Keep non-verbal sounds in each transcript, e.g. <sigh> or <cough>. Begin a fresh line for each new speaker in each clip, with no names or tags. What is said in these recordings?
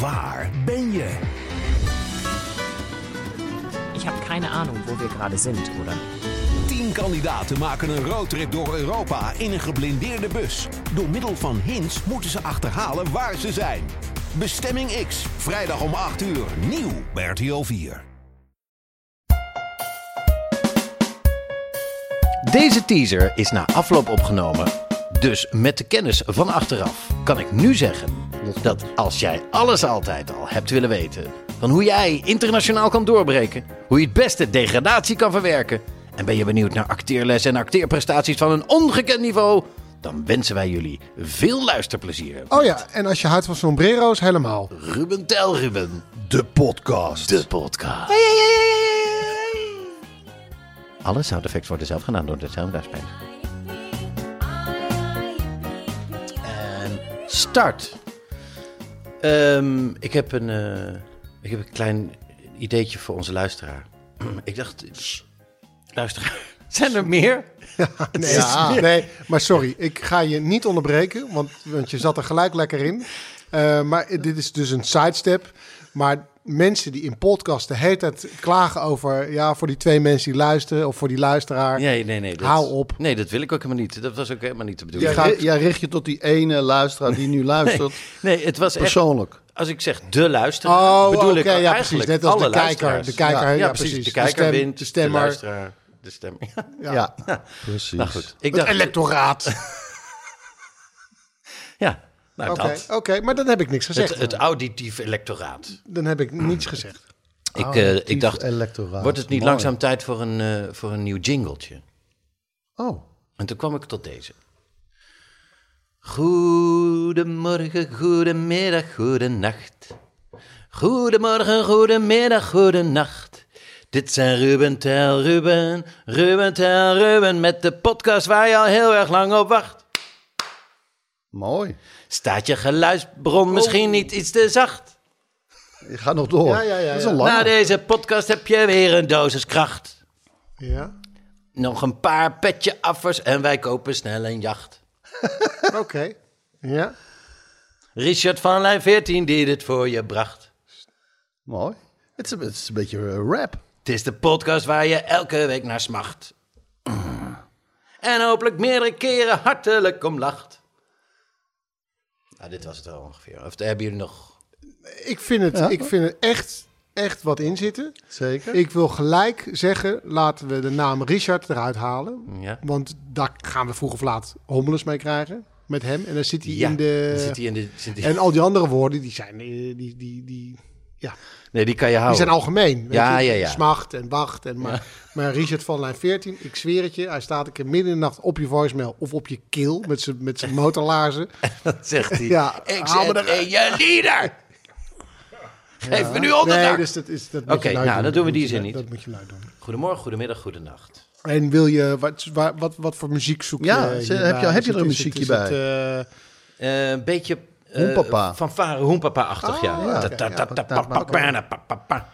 Waar ben je?
Ich habe keine Ahnung, wo wir gerade sind, oder?
Tien kandidaten maken een roadtrip door Europa in een geblindeerde bus. Door middel van hints moeten ze achterhalen waar ze zijn. Bestemming X, vrijdag om 8 uur, nieuw bij RTL 4.
Deze teaser is na afloop opgenomen. Dus met de kennis van achteraf kan ik nu zeggen dat als jij alles altijd al hebt willen weten van hoe jij internationaal kan doorbreken, hoe je het beste degradatie kan verwerken en ben je benieuwd naar acteerles en acteerprestaties van een ongekend niveau, dan wensen wij jullie veel luisterplezier.
Oh ja, en als je houdt van sombrero's, helemaal.
Ruben tel Ruben,
De podcast.
de podcast. Alle sound effects worden zelf gedaan door de soundbaaspijn. En start. Ehm, ik, heb een, eh, ik heb een klein ideetje voor onze luisteraar. <clears throat> Ik dacht, luisteraar, <laughs> zijn er meer?
Nee,
<laughs>
nee, maar sorry, ik ga je niet onderbreken, want, want je zat er gelijk lekker in. Eh, maar dit is dus een sidestep. Maar mensen die in podcast de hele tijd klagen over... ja, voor die twee mensen die luisteren of voor die luisteraar...
Nee, nee, nee. dat-
Hou op.
Nee, dat wil ik ook helemaal niet. Dat was ook helemaal niet de bedoeling.
Jij,
gaat-
ri- jij richt je tot die ene luisteraar die nu luistert.
<laughs> Nee, het was echt...
Persoonlijk.
Als ik zeg de luisteraar,
Oh,
bedoel
oké,
ik
ja,
eigenlijk
precies. Net als
alle
de kijker.
luisteraars.
De kijker, ja,
Ja,
precies.
precies. De kijker
stem-
wint,
de
de,
stemmer.
luisteraar, de stemmer.
Ja, precies.
Nou goed, ik
het
dacht,
electoraat.
<laughs> ja, nou
Oké,
dat.
oké, maar dan heb ik niks gezegd.
Het, het auditief electoraat.
Dan heb ik niets gezegd.
Ik, eh, ik dacht,
electoraat.
wordt het niet
Mooi.
langzaam tijd voor een, eh, voor een nieuw jingletje?
Oh,
En toen kwam ik tot deze. Goedemorgen, goedemiddag, goedenacht. Goedemorgen, goedemiddag, goedenacht. Dit zijn Ruben Tel Ruben, Ruben Tel Ruben met de podcast waar je al heel erg lang op wacht.
mooi.
Staat je geluidsbron misschien niet iets te zacht?
Je gaat nog door.
Ja, ja, ja,
Dat is
ja.
een
Na
lange.
deze podcast heb je weer een dosis kracht.
Ja,
Nog een paar petje affers en wij kopen snel een jacht.
oké. Ja,
Richard van Lijn 14 die dit voor je bracht.
Mooi. Het is, een- het is een beetje eh, rap.
Het is de podcast waar je elke week naar smacht. En hopelijk meerdere keren hartelijk om lacht. Nou, dit was het wel ongeveer. Of hebben jullie nog...
ik vind het,
Ja.
ik vind het echt, echt wat in zitten.
Zeker.
Ik wil gelijk zeggen, laten we de naam Richard eruit halen.
Ja.
Want daar gaan we vroeg of laat hommeles mee krijgen. Met hem. En dan zit hij in de...
dan zit hij in de... zit hij-
En al die andere woorden, die zijn... eh, Die, die, die, ja,
Nee, die kan je
die
houden.
zijn algemeen. weet
Oh. Ja,
je.
ja, ja.
Smacht en wacht. En maar, maar Richard van lijn 14, ik zweer het je. Hij staat een keer midden in de nacht op je voicemail of op je keel met zijn- met
<laughs>
zijn motorlaarzen.
Dat <laughs> zegt hij.
Ja,
ik
haal me
zit in je lieder. Geef me nu onderdak.
Nee, dus dat is dat moet
Oké,
je nooit
nou,
doen.
dan doen we
moet
die
je
zin
nooit-
niet.
Dat moet je nou doen.
Goedemorgen, goedemiddag, goedenacht.
En wil je wat, waar- wat, wat voor muziek zoek
Ja,
je?
ze-
hierbij?
heb je- heb je
Is
er
het-
een
is het-
muziekje
is het, eh,
Eh, een beetje... eh,
Hoenpapa.
Van varen hoenpapa-achtig,
Ah,
ja.
ja.
Ta- ta- ta- ta-
Ja,
pa- pa- pa- pa- pa.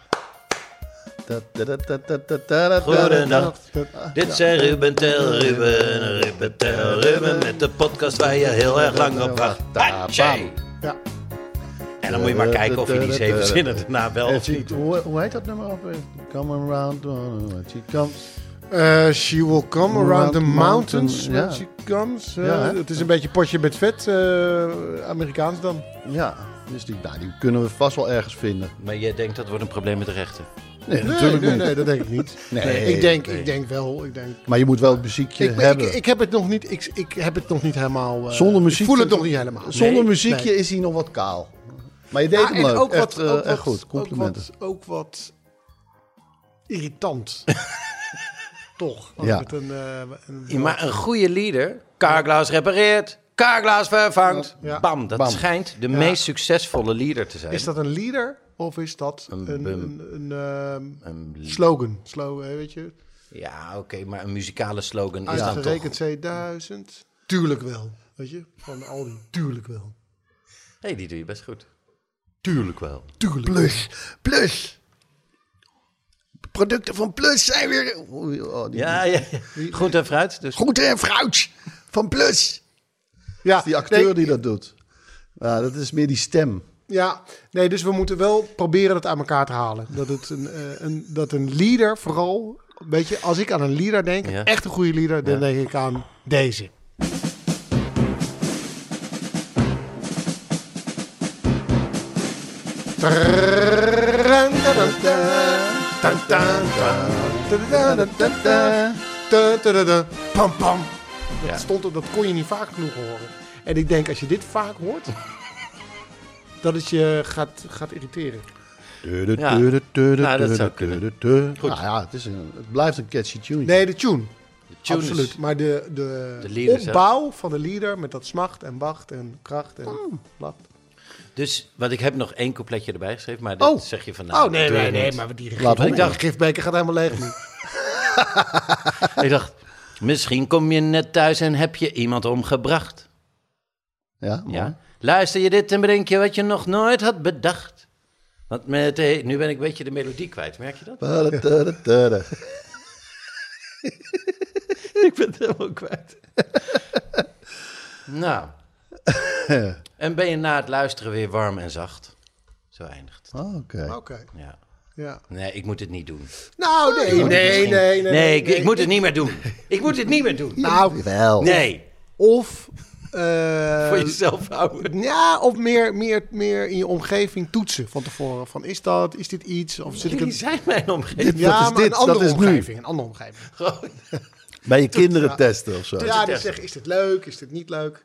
Da- da- da- da- da- da- da- da-
Goedenacht.
da-
Dit zijn Ruben Tel Ruben, Ruben Tel Ruben met de podcast waar je heel erg lang op wacht. Hatjee!
ja.
En dan moet je maar kijken of je die zeven zinnen daarna wel
Eh,
of
she-
niet.
Hoe hoe heet dat nummer ook weer? Come around, uh, she comes.
Eh, she will come around,
Around
the
the
mountains
mountain,
when
ja.
she comes. Eh,
Ja, hè?
het is een beetje potje met vet, eh, Amerikaans dan.
Ja, dus die, nou, die kunnen we vast wel ergens vinden.
Maar jij denkt dat wordt een probleem met de rechten.
Nee,
Nee,
natuurlijk
nee,
niet.
nee, dat denk ik niet.
Nee,
ik, denk,
nee.
ik denk wel. Ik, denk,
Maar je moet wel het muziekje
ik, ik,
hebben.
ik heb het nog niet, ik, ik heb het nog niet helemaal... eh,
Zonder muziek-
Ik voel het nog niet helemaal.
Zonder
Nee,
muziekje is hij nog wat kaal. Maar je deed
Ah,
hem leuk. echt, eh,
ook
echt goed. Complimenten.
Ook wat, ook wat
<laughs>
irritant. Toch? Ook
Ja.
Met een, eh, een-
Maar een goede leader, Carglass repareert, Carglass vervangt.
Ja.
Bam, dat
Bam.
schijnt de meest succesvolle leader te zijn.
Is dat een leader of is dat een, een, een, ehm, slogan? Slogan, eh, weet je?
Ja, oké, maar een muzikale slogan
Ah,
is dan toch...
Uitgerekend 2000. Tuurlijk wel. Weet je? Van Aldi. Tuurlijk wel.
hey, die doe je best goed. Tuurlijk wel.
Tuurlijk
Plus, plus. Producten van Plus zijn weer Oei, oh, die-
Ja, ja, ja. Goed en fruit. Dus
groente en fruit van Plus.
Ja,
Die acteur
nee,
die dat doet. Ja, dat is meer die stem.
Ja, nee, dus we moeten wel proberen dat aan elkaar te halen. Dat, het een, eh, een, dat een leader vooral... Weet je, als ik aan een leader denk,
Ja.
echt een goede leader, dan denk ik aan deze. Pam, pam. Dat,
Ja.
stond, er- dat kon je niet vaak genoeg horen. En ik denk, als je dit vaak hoort, dat het je gaat, gaat irriteren.
Ja. Nou, dat zou kunnen.
Goed. Nou ja, het, is een, het blijft een catchy tune.
Nee, de tune.
tune is-
Absoluut. Maar de, de,
De leader zelf.
opbouw van de leader met dat smacht en wacht en kracht en lacht.
Dus, want ik heb nog één coupletje erbij geschreven, maar dat zeg je nou, vandaag.
Oh, nee, nee, nee. Maar die
Laat
gif,
horen.
ik dacht, gifbeker gaat helemaal <laughs> leeg nu.
Ik dacht, misschien kom je net thuis en heb je iemand omgebracht.
Ja,
Oh.
mooi.
Ja. Luister je dit en bedenk je wat je nog nooit had bedacht. Want met, eh, nu ben ik een beetje de melodie kwijt, merk je dat?
Badadadadada.
Ik ben het helemaal kwijt.
<laughs>
nou. en ben je na het luisteren weer warm en zacht? Zo eindigt het.
Oh, Oké.
Oké,
Ja.
ja.
Nee, ik moet het niet doen.
Nou, nee, nee, nee, nee.
Nee,
nee,
ik, ik moet het niet meer doen. Ik moet het niet meer
<laughs>
doen.
Nou,
Wel.
Nee,
of... eh,
voor jezelf houden.
Ja, of meer, meer, meer in je omgeving toetsen van tevoren. Van is dat, is dit iets? Of zit ik
Jullie
een...
zijn mijn
<laughs>
omgeving.
Ja,
is
maar
dit,
een andere
dat is nu.
omgeving. Een andere omgeving.
Bij je kinderen testen of zo.
Ja, die zeggen is dit leuk, is dit niet leuk?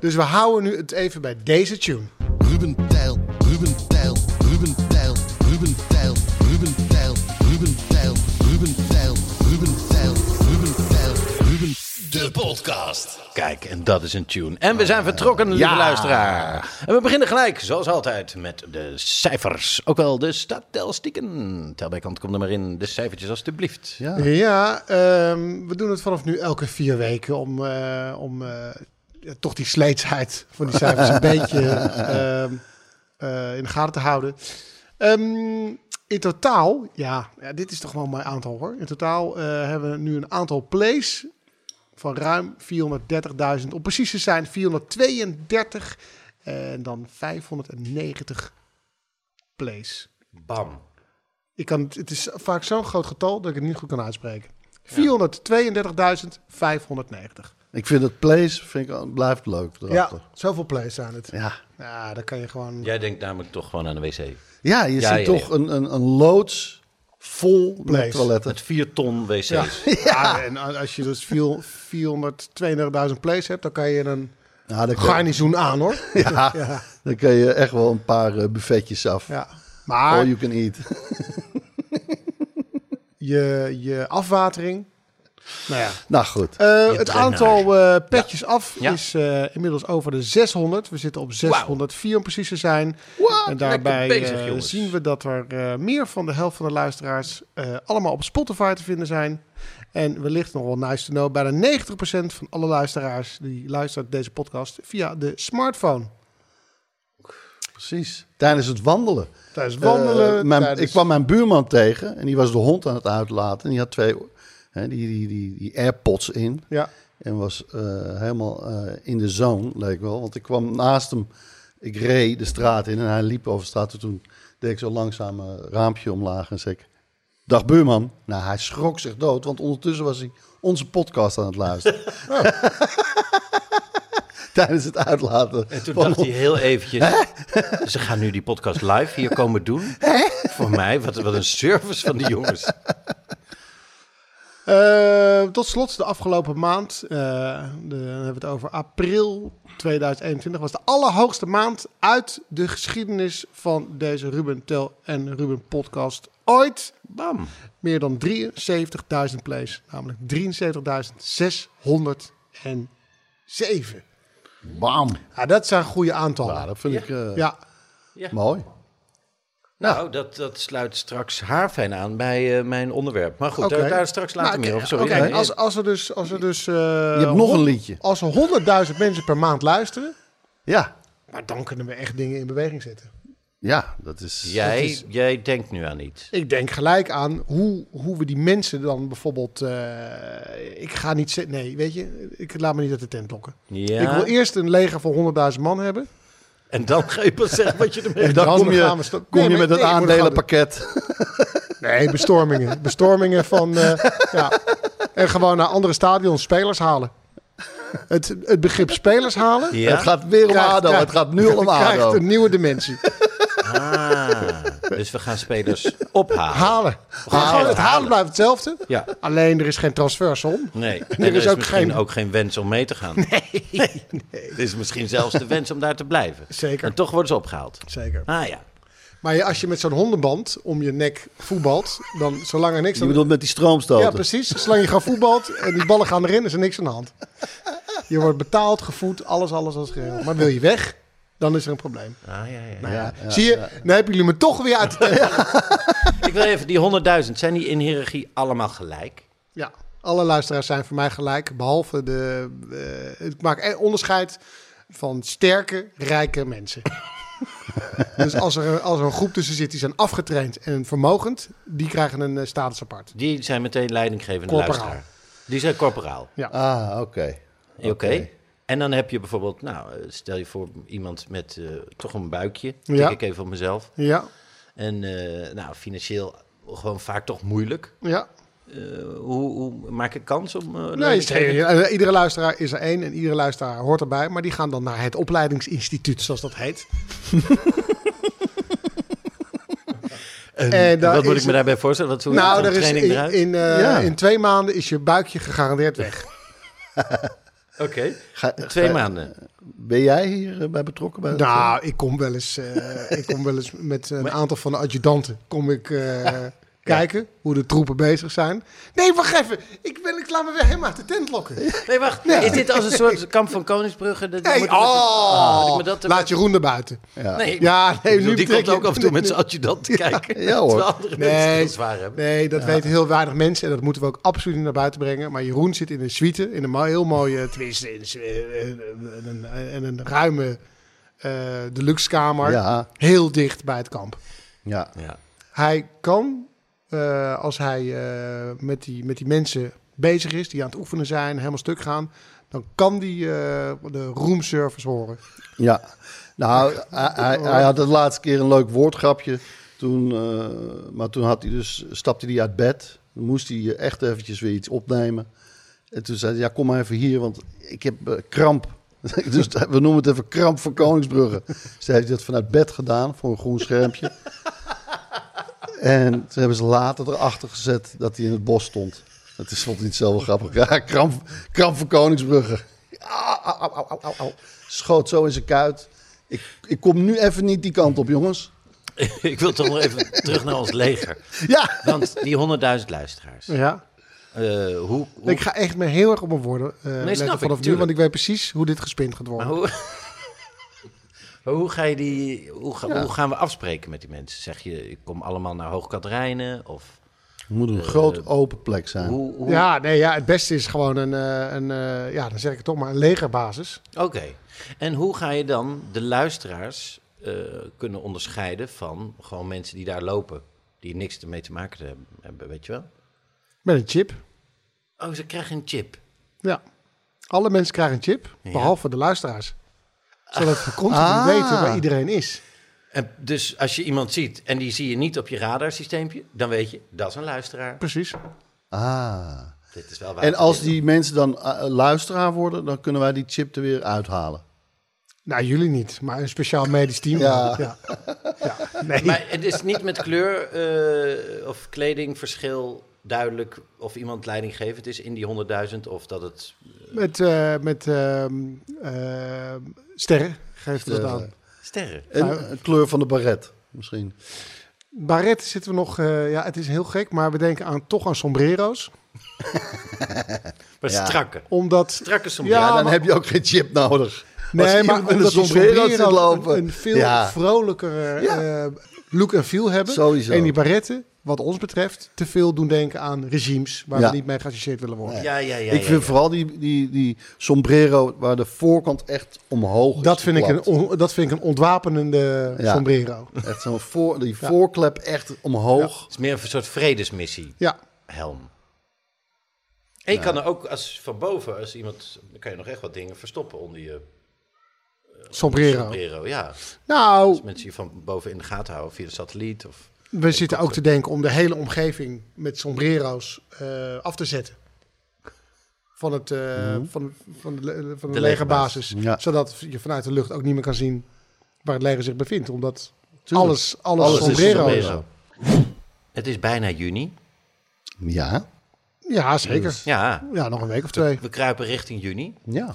Dus we houden nu het even bij deze tune.
Ruben Tijl, Ruben Tijl, Ruben Tijl, Ruben Tijl, Ruben Tijl, Ruben Tijl, Ruben Tijl, Ruben Tijl, Ruben Tijl, Ruben De podcast.
Kijk, en dat is een tune. En we zijn vertrokken, lieve luisteraar. En we beginnen gelijk, zoals altijd, met de cijfers. Ook wel de statistieken. Telbijkant, kom er maar in. De cijfertjes, alstublieft.
Ja.
Ja, ehm, we doen het vanaf nu elke vier weken om, eh, om eh, ja, toch die sleetsheid van die cijfers een beetje ehm, eh, in de gaten te houden. Ehm, in totaal, ja, ja, dit is toch wel mijn aantal hoor. In totaal eh, hebben we nu een aantal plays van ruim 430.000. Om precies te zijn 432 en dan 590 plays.
Bam.
Ik kan, het- het is vaak zo'n groot getal dat ik het niet goed kan uitspreken. 432.590.
Ik vind het place vind ik, al- blijft leuk.
Ja,
erachter.
zoveel plays zijn het.
Ja.
Ja, dan kan je gewoon...
Jij denkt namelijk toch gewoon aan de wc.
ja,
Ja,
je ziet
ja,
toch
ja.
Een, een, een loods vol
Place.
met toiletten.
Met vier ton wc's.
<laughs> Ja, en a- als je dus veel- 432.000 plays hebt, dan kan je een
Ja, dan, kan,
garnizoen aan, hoor.
<laughs> ja, dan kan je echt wel een paar eh, buffetjes af.
Ja.
All
Maar
you can eat. <laughs>
je, je afwatering... Nou ja.
nou goed.
Eh,
Je
het
trainer.
aantal eh, petjes af
Ja.
is eh, inmiddels over de 600. We zitten op 604 om precies te zijn. en daarbij
lekker bezig,
eh,
jongens.
zien we dat er eh, meer van de helft van de luisteraars eh, allemaal op Spotify te vinden zijn. En wellicht nog wel nice to know, bijna 90% van alle luisteraars die luistert deze podcast via de smartphone.
Precies. Tijdens het wandelen.
Tijdens wandelen,
Eh, mijn-
tijdens-
Ik kwam mijn buurman tegen en die was de hond aan het uitlaten. En die had twee hè, die, die, die, die AirPods in.
Ja.
En was eh, helemaal eh, in de zone, leek wel. Want ik kwam naast hem. Ik reed de straat in en hij liep over de straat. En toen deed ik zo langzaam een raampje omlaag en zei ik... Dag buurman. Nou, hij schrok zich dood, want ondertussen was hij onze podcast aan het luisteren.
<laughs>
<laughs> Tijdens het uitlaten.
En toen
van
dacht
ons-
hij heel eventjes... Ze gaan nu die podcast live hier komen doen. Voor mij, wat, wat een service van die
<laughs>
jongens.
Nou. Eh, tot slot, de afgelopen maand, eh, de, dan hebben we het over april 2021, was de allerhoogste maand uit de geschiedenis van deze Ruben Tel en Ruben podcast ooit.
Bam.
Meer dan 73.000 plays, namelijk 73.607.
Bam.
Ja, dat zijn goede aantallen.
Ja,
Ja,
dat vind ik eh,
Ja.
mooi.
Nou, dat, dat sluit straks haar fijn aan bij eh, mijn onderwerp. Maar goed,
Oké.
daar, daar straks later
Nou,
meer over. Sorry.
oké,
Nee,
als, als er dus... Als er dus eh,
Je hebt nog een liedje.
Als er 100.000 mensen per maand luisteren...
Ja,
Maar dan kunnen we echt dingen in beweging zetten.
ja dat is...
jij,
dat is-
jij denkt nu aan iets.
Ik denk gelijk aan hoe, hoe we die mensen dan bijvoorbeeld... eh, ik ga niet... zet- Nee, weet je, ik laat me niet uit de tent lokken.
Ja.
Ik wil eerst een leger van 100.000 man hebben.
En dan ga je pas zeggen wat je ermee
En dan
Dan
kom je,
gaan we sto-
kom
Nee,
je
maar
met
ik
een
denk, we gaan
aandelenpakket.
Nee,
<laughs>
bestormingen. bestormingen van... eh, ja. En gewoon naar andere stadions spelers halen. Het, het begrip spelers halen...
Ja?
<laughs> Het gaat weer om
krijgt-
ADO.
krijgt-
Het gaat nu om
krijgt
ADO.
een nieuwe dimensie.
Ah, dus we gaan spelers ophalen.
Halen.
geld
halen. Het halen
halen.
blijft hetzelfde.
Ja.
Alleen er is geen transfersom.
Nee, en
er
er is,
is ook
misschien
geen-
ook geen wens om mee te gaan. <laughs> Nee. Het is misschien zelfs de wens om daar te blijven.
Zeker.
En toch worden ze opgehaald.
Zeker.
Ah ja.
Maar je- als je met zo'n hondenband om je nek voetbalt, dan zolang er niks
Je
aan
bedoelt met die
Ja,
stroomstoten.
precies. Zolang je gaat voetbalt en die ballen gaan erin, is er niks aan de hand. Je wordt betaald, gevoed, alles, alles als geheel. Maar wil je weg, dan is er een probleem.
Ah, ja, ja.
Nou ja, zie je, dan hebben jullie me toch weer uit de tent.
Nou, Ik wil even, die 100.000, zijn die in hiërarchie allemaal gelijk?
Ja, alle luisteraars zijn voor mij gelijk, behalve de... eh, ik maak eh, onderscheid van sterke, rijke mensen. dus als er, een- als er een groep tussen zit die zijn afgetraind en vermogend, die krijgen een eh, status apart.
Die zijn meteen leidinggevende
Corporaal.
luisteraar. Die zijn corporaal.
Ja.
Ah, oké.
Oké. En dan heb je bijvoorbeeld, nou, eh, stel je voor iemand met eh, toch een buikje. Denk
Ja.
ik even op mezelf.
Ja,
En eh, nou, financieel gewoon vaak toch moeilijk.
ja.
Eh, hoe, hoe maak ik kans om... eh,
Nee,
leidinggevende-
zeker. Eh, Iedere luisteraar is er één en iedere luisteraar hoort erbij. Maar die gaan dan naar het opleidingsinstituut, zoals dat
<laughs>
heet. en daar
Wat moet
is
ik me daarbij voorstellen? Wat, hoe
Nou,
zo'n
er is
training
in,
eruit?
in, eh,
Ja.
in twee maanden is je buikje gegarandeerd weg.
Oké.
Ga-
Twee
ga-
maanden.
Ben jij hier eh, bij betrokken? Bij
nou, ik kom wel eens, eh, ik kom wel eens met een aantal van de adjudanten kom ik, eh,
<laughs>
kijken hoe de troepen bezig zijn. Nee, wacht even. Ik, ben, ik laat me weer helemaal uit de tent lokken.
<laughs> Nee, wacht. Is dit als een soort kamp van Koningsbrugge? Dat-
Nee,
moet-
oh,
moet ik me dat-
laat Jeroen erbuiten.
Ja.
Nee,
Ja,
Ah.
nee,
Ik bedoel,
nu
die
betrek
komt
je-
ook af en toe met zijn adjudant te kijken.
Ja, hoor.
Terwijl andere mensen het heel zwaar hebben.
nee, dat weten heel weinig mensen. En dat moeten we ook absoluut niet naar buiten brengen. Maar Jeroen zit in een suite, in een mo- heel mooie, tenminste, in een, su- eh, eh, en een, en een ruime eh deluxe kamer.
Ja.
Heel dicht bij het kamp.
Ja.
Ja. <laughs>
Hij kan, eh, als hij eh, met, die, met die mensen bezig is, die aan het oefenen zijn, helemaal stuk gaan, dan kan die eh, de roomservice horen.
Ja, nou, hij, hij, hij had de laatste keer een leuk woordgrapje. Toen, eh, maar toen had hij dus, stapte hij uit bed. Dan moest hij eh, echt eventjes weer iets opnemen. En toen zei hij, ja, kom maar even hier, want ik heb eh, kramp. <laughs> dus we noemen het even kramp voor Koningsbrugge. Ze heeft hij dat vanuit bed gedaan voor een groen schermpje. en toen hebben ze later erachter gezet dat hij in het bos stond. Dat is vond hij niet zo wel grappig. Ja, kramp, kramp voor Koningsbrugge. Au, au, au, au, au, au. Schoot zo in zijn kuit. Ik, ik kom nu even niet die kant op, jongens.
Ik wil toch nog even terug naar ons leger.
Ja,
Want die 100.000 luisteraars.
Ja.
eh, hoe, hoe,
Ik ga echt me heel erg op mijn woorden eh letten
snap ik,
vanaf nu,
tuurlijk.
want ik weet precies hoe dit gespind gaat worden.
maar hoe, <laughs> maar hoe, ga je die, hoe, ga- hoe gaan we afspreken met die mensen? Zeg je, ik kom allemaal naar Hoog-Kadrijnen? Of
het moet een groot open plek zijn.
hoe? hoe-
Ja, nee, ja, het beste is gewoon een, eh, een eh, ja, dan zeg ik het toch maar, een legerbasis.
Oké. En hoe ga je dan de luisteraars eh, kunnen onderscheiden van gewoon mensen die daar lopen? Die niks ermee te maken te hebben- hebben, weet je wel?
Met een chip.
Oh, ze krijgen een chip.
Ja. Alle mensen krijgen een chip, behalve de luisteraars. Zodat we continu weten waar iedereen is.
En dus als je iemand ziet en die zie je niet op je radarsysteempje, dan weet je, dat is een luisteraar.
Precies.
Ah.
Dit is wel waar.
En als die mensen dan eh, luisteraar worden, dan kunnen wij die chip er weer uithalen.
Nou, jullie niet, maar een speciaal medisch team.
Ja.
ja. Ja, Nee.
Maar het is niet met kleur eh, of kledingverschil duidelijk of iemand leidinggevend is in die 100.000 of dat het...
Met, eh, met ehm, ehm, sterren geeft het aan.
Sterren.
En een kleur van de baret, misschien.
Barret zitten we nog, eh, ja, het is heel gek, maar we denken aan, toch aan sombrero's.
Maar strakke.
Omdat,
Strakke soms.
Ja,
Ja, dan
maar-
heb je ook geen chip nodig.
Nee, maar
iemand met
omdat
een
die
sombrero
sombrero
zit lopen.
een- een veel
Ja.
vrolijker
Ja.
eh, look en feel hebben.
Sowieso.
En die barretten, wat ons betreft, te veel doen denken aan regimes waar
Ja.
we niet mee geassocieerd willen worden.
Ja, ja, ja.
ik
ja,
vind
ja.
vooral die, die, die sombrero waar de voorkant echt omhoog is
Dat vind, ik een,
geklapt.
on- dat vind ik een ontwapenende
Ja.
sombrero.
Echt zo'n voor, die voorklep echt omhoog.
Het is meer een soort vredesmissie,
Ja,
helm. En je kan er ook als, van boven, als iemand, dan kan je nog echt wat dingen verstoppen onder je
sombrero.
sombrero. Ja,
Nou,
als mensen je van boven in de gaten houden via de satelliet. Of...
we zitten ook te denken om de hele omgeving met sombrero's eh, af te zetten. Van, het, eh, van, van de, le- van de,
De
legerbasis.
legerbasis, ja.
Zodat je vanuit de lucht ook niet meer kan zien waar het leger zich bevindt. Omdat
Tuurlijk.
alles, alles,
Alles is
sombrero's.
sombrero.
Het is bijna juni.
Ja.
Ja, zeker.
Ja,
Ja, nog een week of twee.
we kruipen richting juni.
Ja.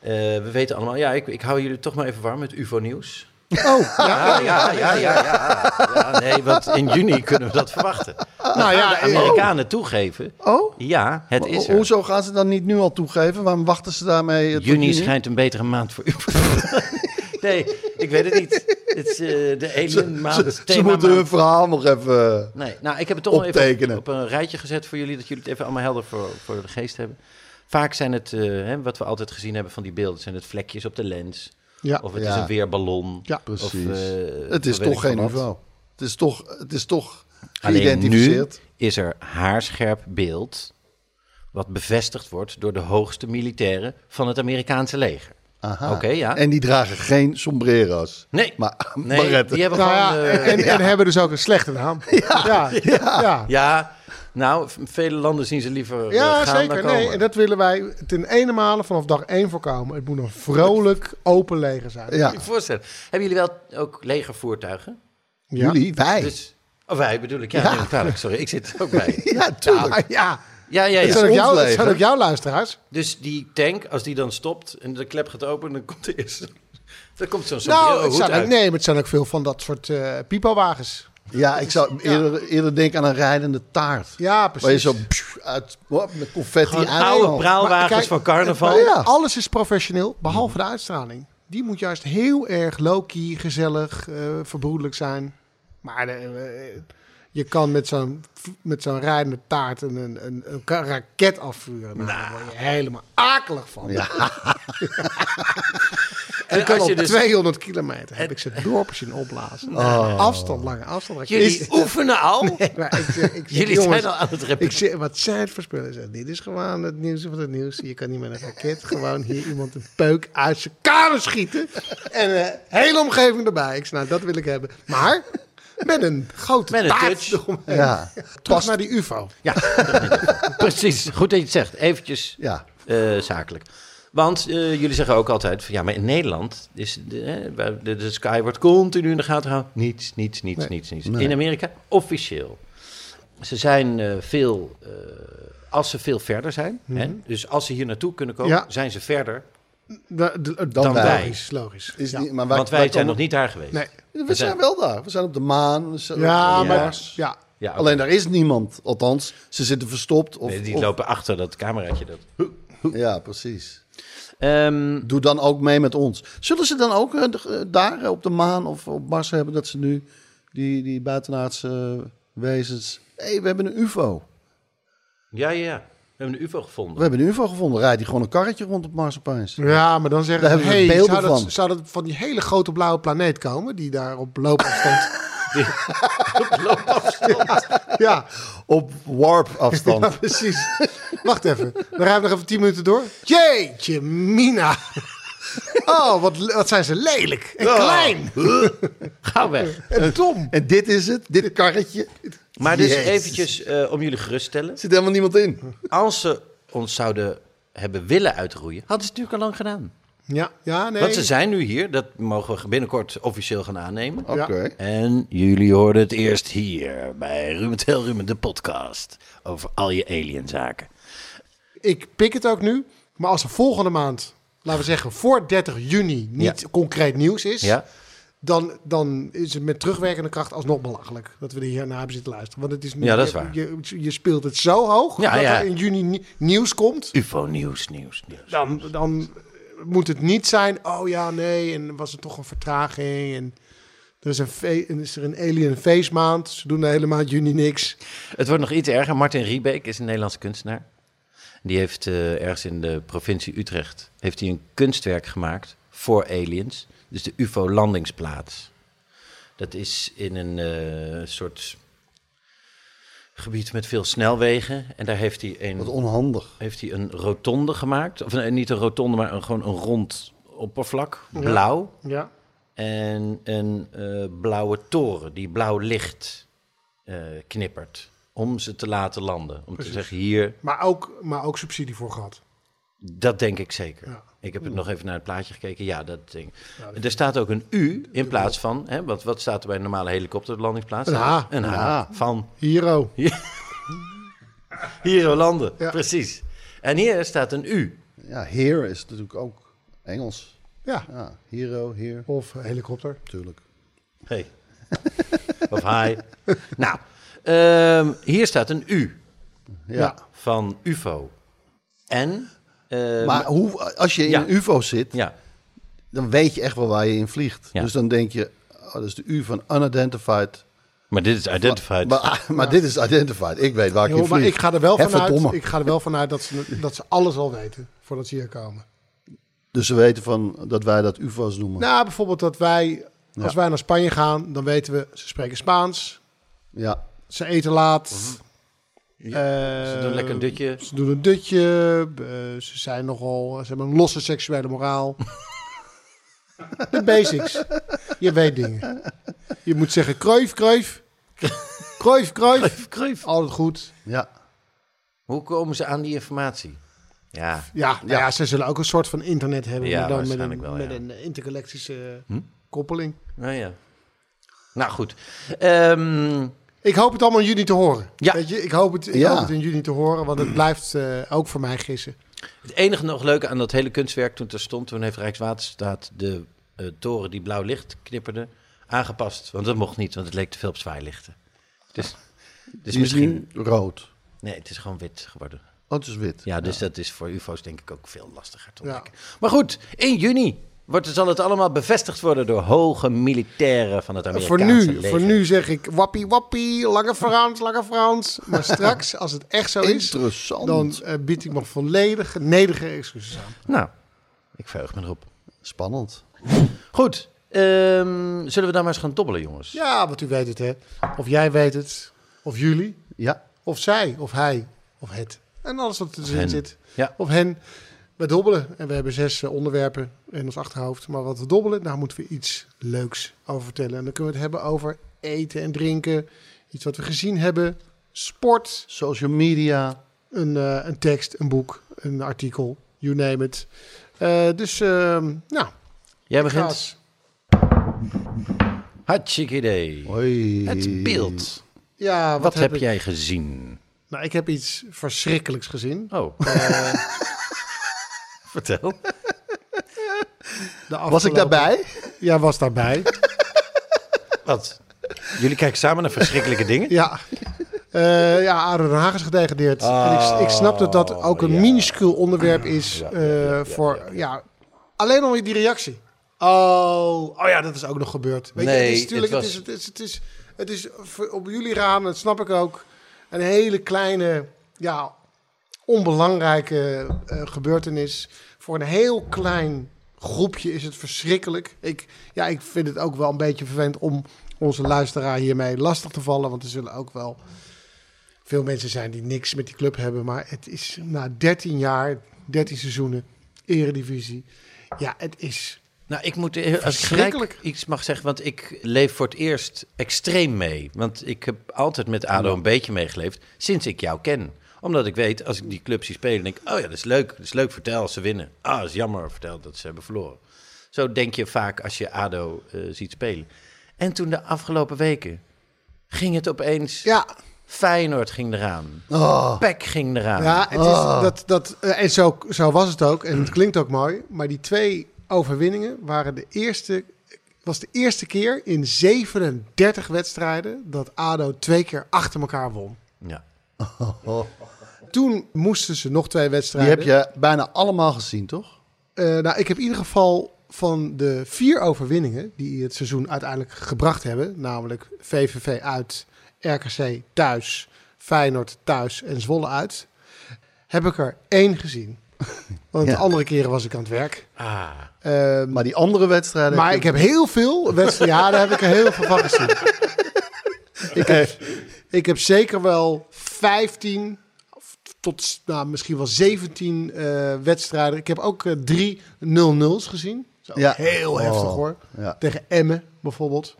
Eh, we weten allemaal, ja, ik, ik hou jullie toch maar even warm met UFO-nieuws.
Oh, ja.
<laughs> Ja, ja, ja, ja, ja, ja. Nee, want in juni kunnen we dat verwachten.
nou ja, eh,
Amerikanen toegeven.
Oh?
Ja, het is
Ho-
er.
Hoezo gaan ze dan niet nu al toegeven? Waarom wachten ze daarmee? eh, tot
Juni schijnt een betere maand voor u. <laughs> nee, ik weet het niet. Het is eh, de alien maand.
<laughs> Ze, ze moeten hun verhaal nog even...
Nee, nou, ik heb het toch wel even
optekenen.
op, op een rijtje gezet voor jullie, dat jullie het even allemaal helder voor, voor de geest hebben. Vaak zijn het, eh, hè, wat we altijd gezien hebben van die beelden, zijn het vlekjes op de lens.
Ja.
Of het
Ja.
is een weerballon.
Ja.
Of,
Precies.
eh,
het is
weet ik
toch geen
veel wat.
UFO. Het is toch, het is toch
Alleen nu
geïdentificeerd.
is er haarscherp beeld wat bevestigd wordt door de hoogste militairen van het Amerikaanse leger.
Aha.
Oké, ja.
En die dragen geen sombrero's.
nee,
Maar
nee,
barretten.
die hebben
nou
gewoon...
ja,
eh,
en, en hebben dus ook een slechte naam. Ja, ja. ja.
ja, nou, v- vele landen zien ze liever eh,
Ja,
gaan
zeker.
dan komen.
Nee, en dat willen wij ten ene male vanaf dag één voorkomen. Het moet een vrolijk, open leger zijn.
Ja.
Moet je je voorstellen. Hebben jullie wel ook legervoertuigen?
Ja.
Jullie, wij.
Dus, oh, wij bedoel ik. Ja,
Ja.
neem ik kwalijk, sorry. Ik zit er ook bij.
<laughs>
<laughs>
ja, tuurlijk.
Ah, <laughs> ja.
Ja, ja,
Het
ja.
zijn, ook
ons
jou, het
leger.
zijn ook jouw luisteraars.
Dus die tank, als die dan stopt en de klep gaat open, dan komt er eerst... Dan komt zo'n
Nou,
sombrero
het
hoed
zijn ook,
uit.
nee, maar het zijn ook veel van dat soort eh pipowagens.
ja, ik zou eerder, eerder denken aan een rijdende taart.
Ja,
Waar je
precies.
zo pssst, uit, hop, met confetti
Gewoon
uit.
oude praalwagens
Oh. Maar kijk,
van carnaval.
eh,
Ja.
Alles is professioneel, behalve de uitstraling. Die moet juist heel erg low-key, gezellig, eh verbroedelijk zijn. Maar eh, eh, je kan met zo'n, met zo'n rijdende taart een, een, een, een ka- raket afvuren. Nou, Daar word je helemaal akelig van. <laughs>
<laughs> En
kan
als je
op
dus...
200 kilometer heb ik ze dorpen zien opblazen. Afstand, lange afstand.
Oh. Jullie
Is-
oefenen
<laughs>
al?
Maar ik zeg- ik zeg,
Jullie
jongens,
zijn al aan het
Ik
repeteren.
zeg, wat zij het verspillen Zeg, Dit is gewoon het nieuws van het nieuws. Je kan niet met een raket gewoon hier iemand een peuk uit zijn kamer schieten. En een hele omgeving erbij. Ik zeg, nou, dat wil ik hebben. Maar met een grote
Met een
taart
touch.
eromheen.
Ja.
Terug naar die ufo.
Ja, precies. Goed dat je het zegt. Eventjes
Ja.
eh, zakelijk. Want eh, jullie zeggen ook altijd, van, ja, maar in Nederland is de, hè, waar de, de sky wordt continu in de gaten gehouden. Niets, niets, niets, niets, niets. In Amerika officieel. Ze zijn eh, veel, eh, als ze veel verder zijn, hè,
Mhm.
dus als ze hier naartoe kunnen komen,
Ja.
zijn ze verder.
De- de- de-
Dan wij.
Logisch, eh, logisch.
Is
Ja.
niet, maar
want wij zijn
komen-
nog niet daar geweest.
Nee.
We zijn wel daar. We zijn op de maan. we zijn
Ja,
op
maar...
Mars.
Ja.
Ja, oké.
Alleen daar is niemand. Althans, ze zitten verstopt. Of,
Nee, die
of-
lopen achter dat cameraatje. Dat.
Ja, precies.
Ehm,
Doe dan ook mee met ons. Zullen ze dan ook eh, de- eh, daar eh, op de maan of op Mars hebben dat ze nu die, die buitenaardse eh, wezens... Hé, hey, we hebben een ufo.
ja, ja, ja. We hebben een ufo
We
gevonden.
hebben een ufo gevonden. Rijdt die gewoon een karretje rond op Mars opeens.
Ja, maar dan zeggen
Daar
ze,
hebben we
hey,
beelden
zou dat,
van.
zou dat van die hele grote blauwe planeet komen, die daar op loopafstand... ja,
Op warp <laughs> afstand.
Ja, precies. Wacht even. Dan rijden we nog even 10 minuten door. Jeetje, Mina. Oh, wat, le- wat zijn ze lelijk. En klein.
Ga
<laughs>
weg.
En dom.
En dit is het, dit karretje.
Maar dus
Jezus.
eventjes eh, om jullie gerust te stellen.
Er zit helemaal niemand in.
Als ze ons zouden hebben willen uitroeien, hadden ze het natuurlijk al lang gedaan.
Ja, ja nee.
Want ze zijn nu hier, dat mogen we binnenkort officieel gaan aannemen.
Oké.
En jullie hoorden het eerst hier bij Ruben Tel Ruben, de podcast over al je alienzaken.
Ik pik het ook nu. Maar als er volgende maand, laten we zeggen voor 30 juni, niet
Ja.
concreet nieuws is...
Ja?
Dan, dan is het met terugwerkende kracht alsnog belachelijk dat we er hiernaar hebben zitten luisteren. Want het is nu,
Ja, dat is
je-
waar.
Je, je speelt het zo hoog
Ja,
dat
ja.
er in juni ni- nieuws komt.
UFO nieuws, nieuws, nieuws.
Dan, dan moet het niet zijn, oh ja, nee, en was er toch een vertraging. En er is, een fe- en is er een alien feestmaand, ze doen de hele maand juni niks.
Het wordt nog iets erger. Martin Riebeek is een Nederlandse kunstenaar. Die heeft eh, ergens in de provincie Utrecht heeft hij een kunstwerk gemaakt voor aliens. Dus de UFO-landingsplaats. Dat is in een eh, soort gebied met veel snelwegen. En daar heeft hij een
Wat onhandig.
heeft hij een rotonde gemaakt. Of nee, niet een rotonde, maar een, gewoon een rond oppervlak. Blauw.
Ja.
En een eh, blauwe toren die blauw licht eh, knippert. Om ze te laten landen. Om te zeggen, hier,
Maar ook, maar ook subsidie voor gehad.
dat denk ik zeker. Ik heb het nog even naar het plaatje gekeken. Ja, dat ding. er staat ook een U in plaats van... Hè, wat, wat staat er bij een normale helikopterlandingsplaats?
Een H.
Een H. Van
Hiero.
hier landen.
Ja.
Precies. En hier staat een U.
Ja, here is natuurlijk ook Engels.
Ja.
Ja, hero, here.
Of helikopter.
Natuurlijk.
Hey. of hi. Nou, ehm, hier staat een U
Ja.
Ja.
van UFO. En... eh,
Maar hoe, als je in
Ja.
een UFO zit,
Ja,
dan weet je echt wel waar je in vliegt.
Ja.
Dus dan denk je, oh, dat is de U van unidentified.
maar dit is identified.
Maar, ah, maar dit is identified. Ik weet waar ik in
Joh, maar
vlieg.
ik ga er wel
Hè,
vanuit,
verdomme.
ik ga er wel vanuit dat, ze, dat ze alles al weten voordat ze hier komen.
Dus ze weten van dat wij dat UFO's noemen.
Nou, bijvoorbeeld dat wij, als wij naar Spanje gaan, dan weten we, ze spreken Spaans,
ja.
ze eten laat. eh,
ze doen lekker een dutje.
Ze doen een dutje, eh, ze zijn nogal, ze hebben een losse seksuele moraal. <laughs> De basics. Je weet dingen. Je moet zeggen kruif, kruif. Kruif, kruif. Altijd goed.
ja.
Hoe komen ze aan die informatie? Ja,
Ja, nou ja. ze zullen ook een soort van internet hebben,
Ja,
maar dan met een,
waarschijnlijk wel, ja.
met
Hm?
een intergalactische koppeling.
nou ja. Nou goed. Ehm,
Ik hoop het allemaal in juni te horen.
Ja.
Weet je, ik hoop het, ik
Ja.
hoop het in juni te horen, want het blijft eh, ook voor mij gissen.
het enige nog leuke aan dat hele kunstwerk toen het er stond, toen heeft Rijkswaterstaat de eh, toren die blauw licht knipperde, aangepast. Want dat mocht niet, want het leek te veel op zwaailichten. Dus, dus
Die is
misschien.
nu rood.
Nee, het is gewoon wit geworden.
Oh, het is wit.
Ja, dus dat is voor UFO's denk ik ook veel lastiger te
Ja.
ontdekken. Maar goed, in juni wordt, zal het allemaal bevestigd worden door hoge militairen van het
voor,
Amerikaanse
nu,
leger.
voor nu zeg ik wappie wappie, lange Frans, lange
<laughs>
Frans. Maar straks, als het echt zo is,
Interessant.
dan eh, bied ik me volledig nederige excuses aan.
Nou, ik verheug me erop.
Spannend.
Goed, ehm, zullen we daar maar eens gaan dobbelen, jongens?
Ja, want u weet het hè. Of jij weet het, of jullie,
Ja.
of zij, of hij, of het. En alles wat erin
hen.
zit.
Ja.
Of hen. We dobbelen en we hebben zes eh, onderwerpen in ons achterhoofd. Maar wat we dobbelen, daar moeten we iets leuks over vertellen. En dan kunnen we het hebben over eten en drinken. Iets wat we gezien hebben. Sport.
Social media.
een, eh, een tekst, een boek, een artikel, you name it. Eh, dus, ehm, nou,
Jij begint.
gaas.
Hartstikke idee.
Hoi.
Het beeld.
Ja, wat,
Wat heb
ik?
jij gezien?
Nou, ik heb iets verschrikkelijks gezien.
Oh.
Eh.
<laughs> Vertel.
De
Was ik
afgelopen-
daarbij?
Ja, was daarbij.
Wat? Jullie kijken samen naar verschrikkelijke dingen?
ja. Eh ja, Ado Den Haag is gedegradeerd. en ik, ik snap dat dat ook een minuscuul onderwerp is eh, voor, ja, alleen om die reactie. Oh, oh ja, dat is ook nog gebeurd. Weet je,
Nee,
het is natuurlijk,
het
het, is, het is, het is, het is voor- op jullie raam, dat snap ik ook, een hele kleine, ja, onbelangrijke eh, gebeurtenis. Voor een heel klein groepje is het verschrikkelijk. Ik, ja, ik vind het ook wel een beetje vervelend om onze luisteraar hiermee lastig te vallen. Want er zullen ook wel veel mensen zijn die niks met die club hebben. Maar het is na 13 jaar, 13 seizoenen, eredivisie. Ja, het is.
Nou, ik moet eh, als ik gelijk
Verschrikkelijk.
iets mag zeggen, want ik leef voor het eerst extreem mee. Want ik heb altijd met ADO een beetje meegeleefd, sinds ik jou ken. Omdat ik weet, als ik die club zie spelen, denk ik... oh ja, dat is leuk, dat is leuk, vertel, ze winnen. Ah, dat is jammer, vertel dat ze hebben verloren. Zo denk je vaak als je ADO eh, ziet spelen. En toen de afgelopen weken ging het opeens...
Ja, Oh.
Feyenoord ging eraan, PEC ging eraan.
ja het is dat, dat, eh, en zo, zo was het ook. En het klinkt ook mooi. Maar die twee overwinningen waren de eerste. Was de eerste keer in 37 wedstrijden dat Ado twee keer achter elkaar won.
Ja.
Toen moesten ze nog twee
Die
wedstrijden.
heb je bijna allemaal gezien, toch?
Eh, nou, ik heb in ieder geval van de vier overwinningen die het seizoen uiteindelijk gebracht hebben, namelijk VVV uit, RKC thuis, Feyenoord thuis en Zwolle uit, heb ik er één gezien. Want
Ja.
de andere keren was ik aan het werk. Ehm,
Maar die andere wedstrijden...
maar ik heb heel veel wedstrijden. Ja, daar heb ik er heel veel van gezien. ik, heb, ik heb zeker wel 15 of tot nou, misschien wel 17 eh, wedstrijden. Ik heb ook eh, drie 0-0's gezien. Zo,
Ja.
Heel
Oh,
heftig hoor.
ja.
Tegen Emmen bijvoorbeeld.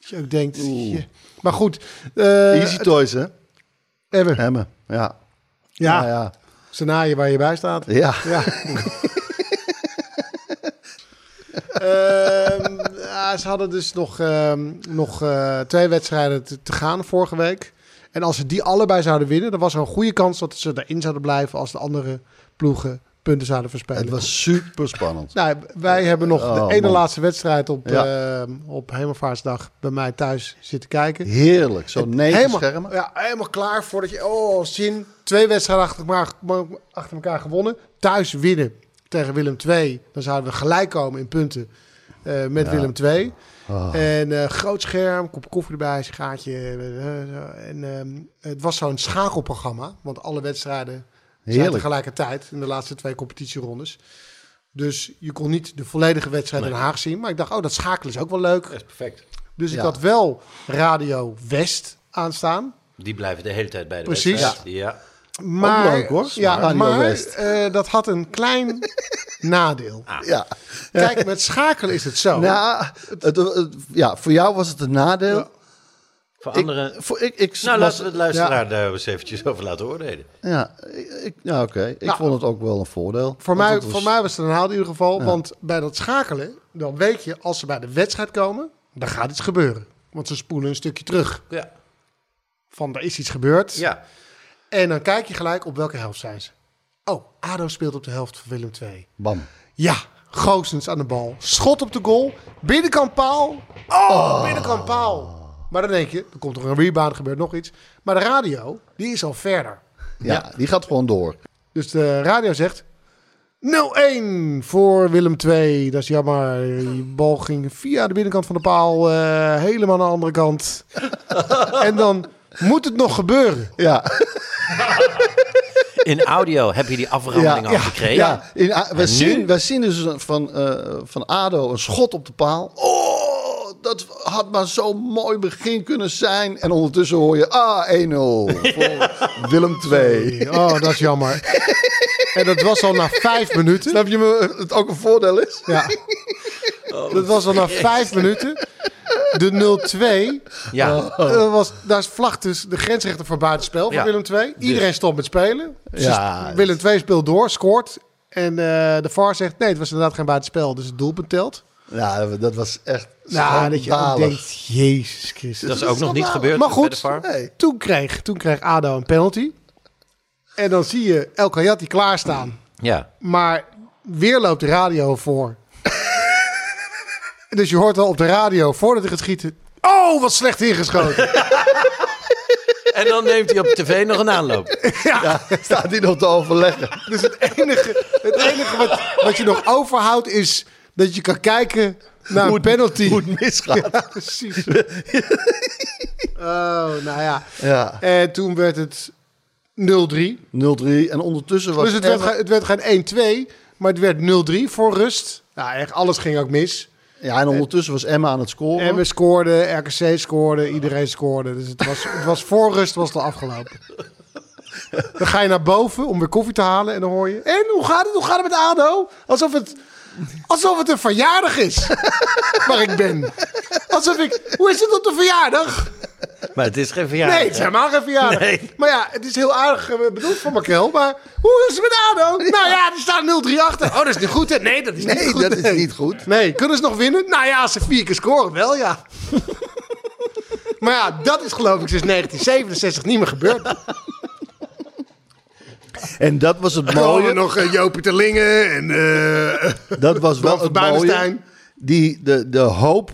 Dat je ook denkt. je- Maar goed. eh,
Easy Toys, hè?
Emmen. Ja,
Hemmen, ja.
ja,
Nou ja.
scenario waar je bij staat.
Ja.
Ja. <laughs> Ehm, ja, ze hadden dus nog, ehm, nog eh, twee wedstrijden te, te gaan vorige week. En als ze die allebei zouden winnen, dan was er een goede kans dat ze erin zouden blijven als de andere ploegen punten zouden verspelen.
Het was super spannend.
Nou, wij hebben nog
Oh,
de ene
man.
laatste wedstrijd op,
Ja.
ehm, op Hemelvaartsdag bij mij thuis zitten kijken.
Heerlijk, zo negen
Helemaal,
schermen.
Ja, helemaal klaar voordat je... Oh, zin. Twee wedstrijden achter elkaar, achter elkaar gewonnen. Thuis winnen tegen Willem II. Dan zouden we gelijk komen in punten eh, met Willem II.
Ah.
En eh, groot scherm, kop koffie erbij, schaatje. eh, eh, en ehm, het was zo'n schakelprogramma. Want alle wedstrijden zijn
Heerlijk.
tegelijkertijd in de laatste twee competitierondes. Dus je kon niet de volledige wedstrijd in Den Haag zien. Maar ik dacht, oh, dat schakelen is ook wel leuk.
is perfect.
Dus ik
Ja.
had wel Radio West aanstaan.
Die blijven de hele tijd bij de
Precies.
wedstrijd. Ja.
Maar,
Ook leuk, hoor.
Ja,
Radio
maar
West.
eh, dat had een
<laughs>
klein nadeel.
Ja.
Kijk, met schakelen is het zo.
Nou, het, het- ja, voor jou was het een nadeel.
Voor
Ik,
anderen...
voor, ik, ik
nou,
was-
laten we het luisteraar daar eens eventjes over laten oordelen.
Ja, ik, ja oké. Ik
Nou,
vond het ook wel een voordeel.
voor,
Want
mij,
het dus. was-
voor mij was het een haal in ieder geval. Want bij dat schakelen, dan weet je, als ze bij de wedstrijd komen, dan gaat iets gebeuren. Want ze spoelen een stukje terug.
Ja.
Van, er is iets gebeurd.
ja.
En dan kijk je gelijk op welke helft zijn ze. Oh, ADO speelt op de helft van Willem II.
Bam.
Ja, Goossens aan de bal. Schot op de goal. Binnenkant paal. Oh, binnenkant paal. Maar dan denk je, er komt toch een rebound, er gebeurt nog iets. Maar de radio, die is al verder.
Ja, die gaat gewoon door.
Dus de radio zegt... 0-1 voor Willem 2. Dat is jammer. Die bal ging via de binnenkant van de paal. eh, helemaal naar de andere
<laughs>
kant. en dan moet het nog gebeuren.
Ja,
In audio heb je die afrandeling al gekregen.
ja. In, A- we,
En
zien,
nu?
we zien dus een- van, eh, van Ado een schot op de paal. Oh, dat had maar zo'n mooi begin kunnen zijn. En ondertussen hoor je, ah, <laughs> 1-0 voor Willem 2.
Oh, dat is jammer. en dat was al na vijf minuten.
Snap je me, het ook een voordeel is?
Ja.
Oh.
dat was al na vijf minuten. De 0-2.
Ja.
eh, was, daar vlacht dus de grensrechter voor buitenspel van
Ja. Dus.
Willem II. Iedereen stopt met spelen. Ze
Ja,
st-
dat-
Willem II speelt door, scoort. En eh, de VAR zegt, nee, het was inderdaad geen buitenspel. Dus het doelpunt telt.
Ja, dat was echt
Nou, dat je ook
schandalig.
denkt, jezus Christus.
Dat is ook nog niet gebeurd
Maar
bij de
goed,
VAR.
nee. toen, kreeg, toen kreeg ADO een penalty. En dan zie je El Kayati klaarstaan.
Ja.
Maar weer loopt de radio voor. <laughs> dus je hoort al op de radio, voordat hij gaat schieten... Oh, wat slecht ingeschoten.
<laughs>
En dan neemt hij op tv nog een aanloop.
<laughs> Staat die nog te overleggen? <laughs>
dus het enige, het enige wat, wat je nog overhoudt is dat je kan kijken naar een penalty.
Hoe het misgaat.
Ja, <laughs> precies.
<laughs>
oh, nou ja.
Ja.
En toen werd het 0-3.
0-3 en ondertussen was
Dus het werd,
Emmen-
ge- het werd geen 1-2, maar het werd 0-3 voor rust. Nou, echt alles ging ook mis.
Ja, en ondertussen was Emma aan het scoren.
En we scoorden, RKC scoorde, iedereen scoorde. Dus het was, het was voor rust was het al afgelopen. Dan ga je naar boven om weer koffie te halen en dan hoor je... En, hoe gaat het? Hoe gaat het met ADO? Alsof het, alsof het een verjaardag is <laughs> waar ik ben. Alsof ik... Hoe is het op de verjaardag?
Maar het is geen verjaardag.
Nee, het is helemaal geen verjaardag.
Nee.
Maar ja, het is heel aardig eh, bedoeld van Markel. Maar hoe is het met ADO? Nou ja, er staan 0-3 achter. Oh, dat is niet goed. Hè? Nee, dat is
Nee,
niet goed.
dat
<laughs>
is niet goed.
Nee, kunnen ze nog winnen? Nou ja, als ze vier keer scoren wel, <laughs> ja. maar ja, dat is geloof ik sinds 1967 niet meer <laughs> gebeurd.
En dat
<laughs>
was het
Mooie
mooie.
nog eh, Jopie Terlingen en... eh,
Dat was
Dan
wel
van
het mooie.
Buitenstein.
Die, de, de hoop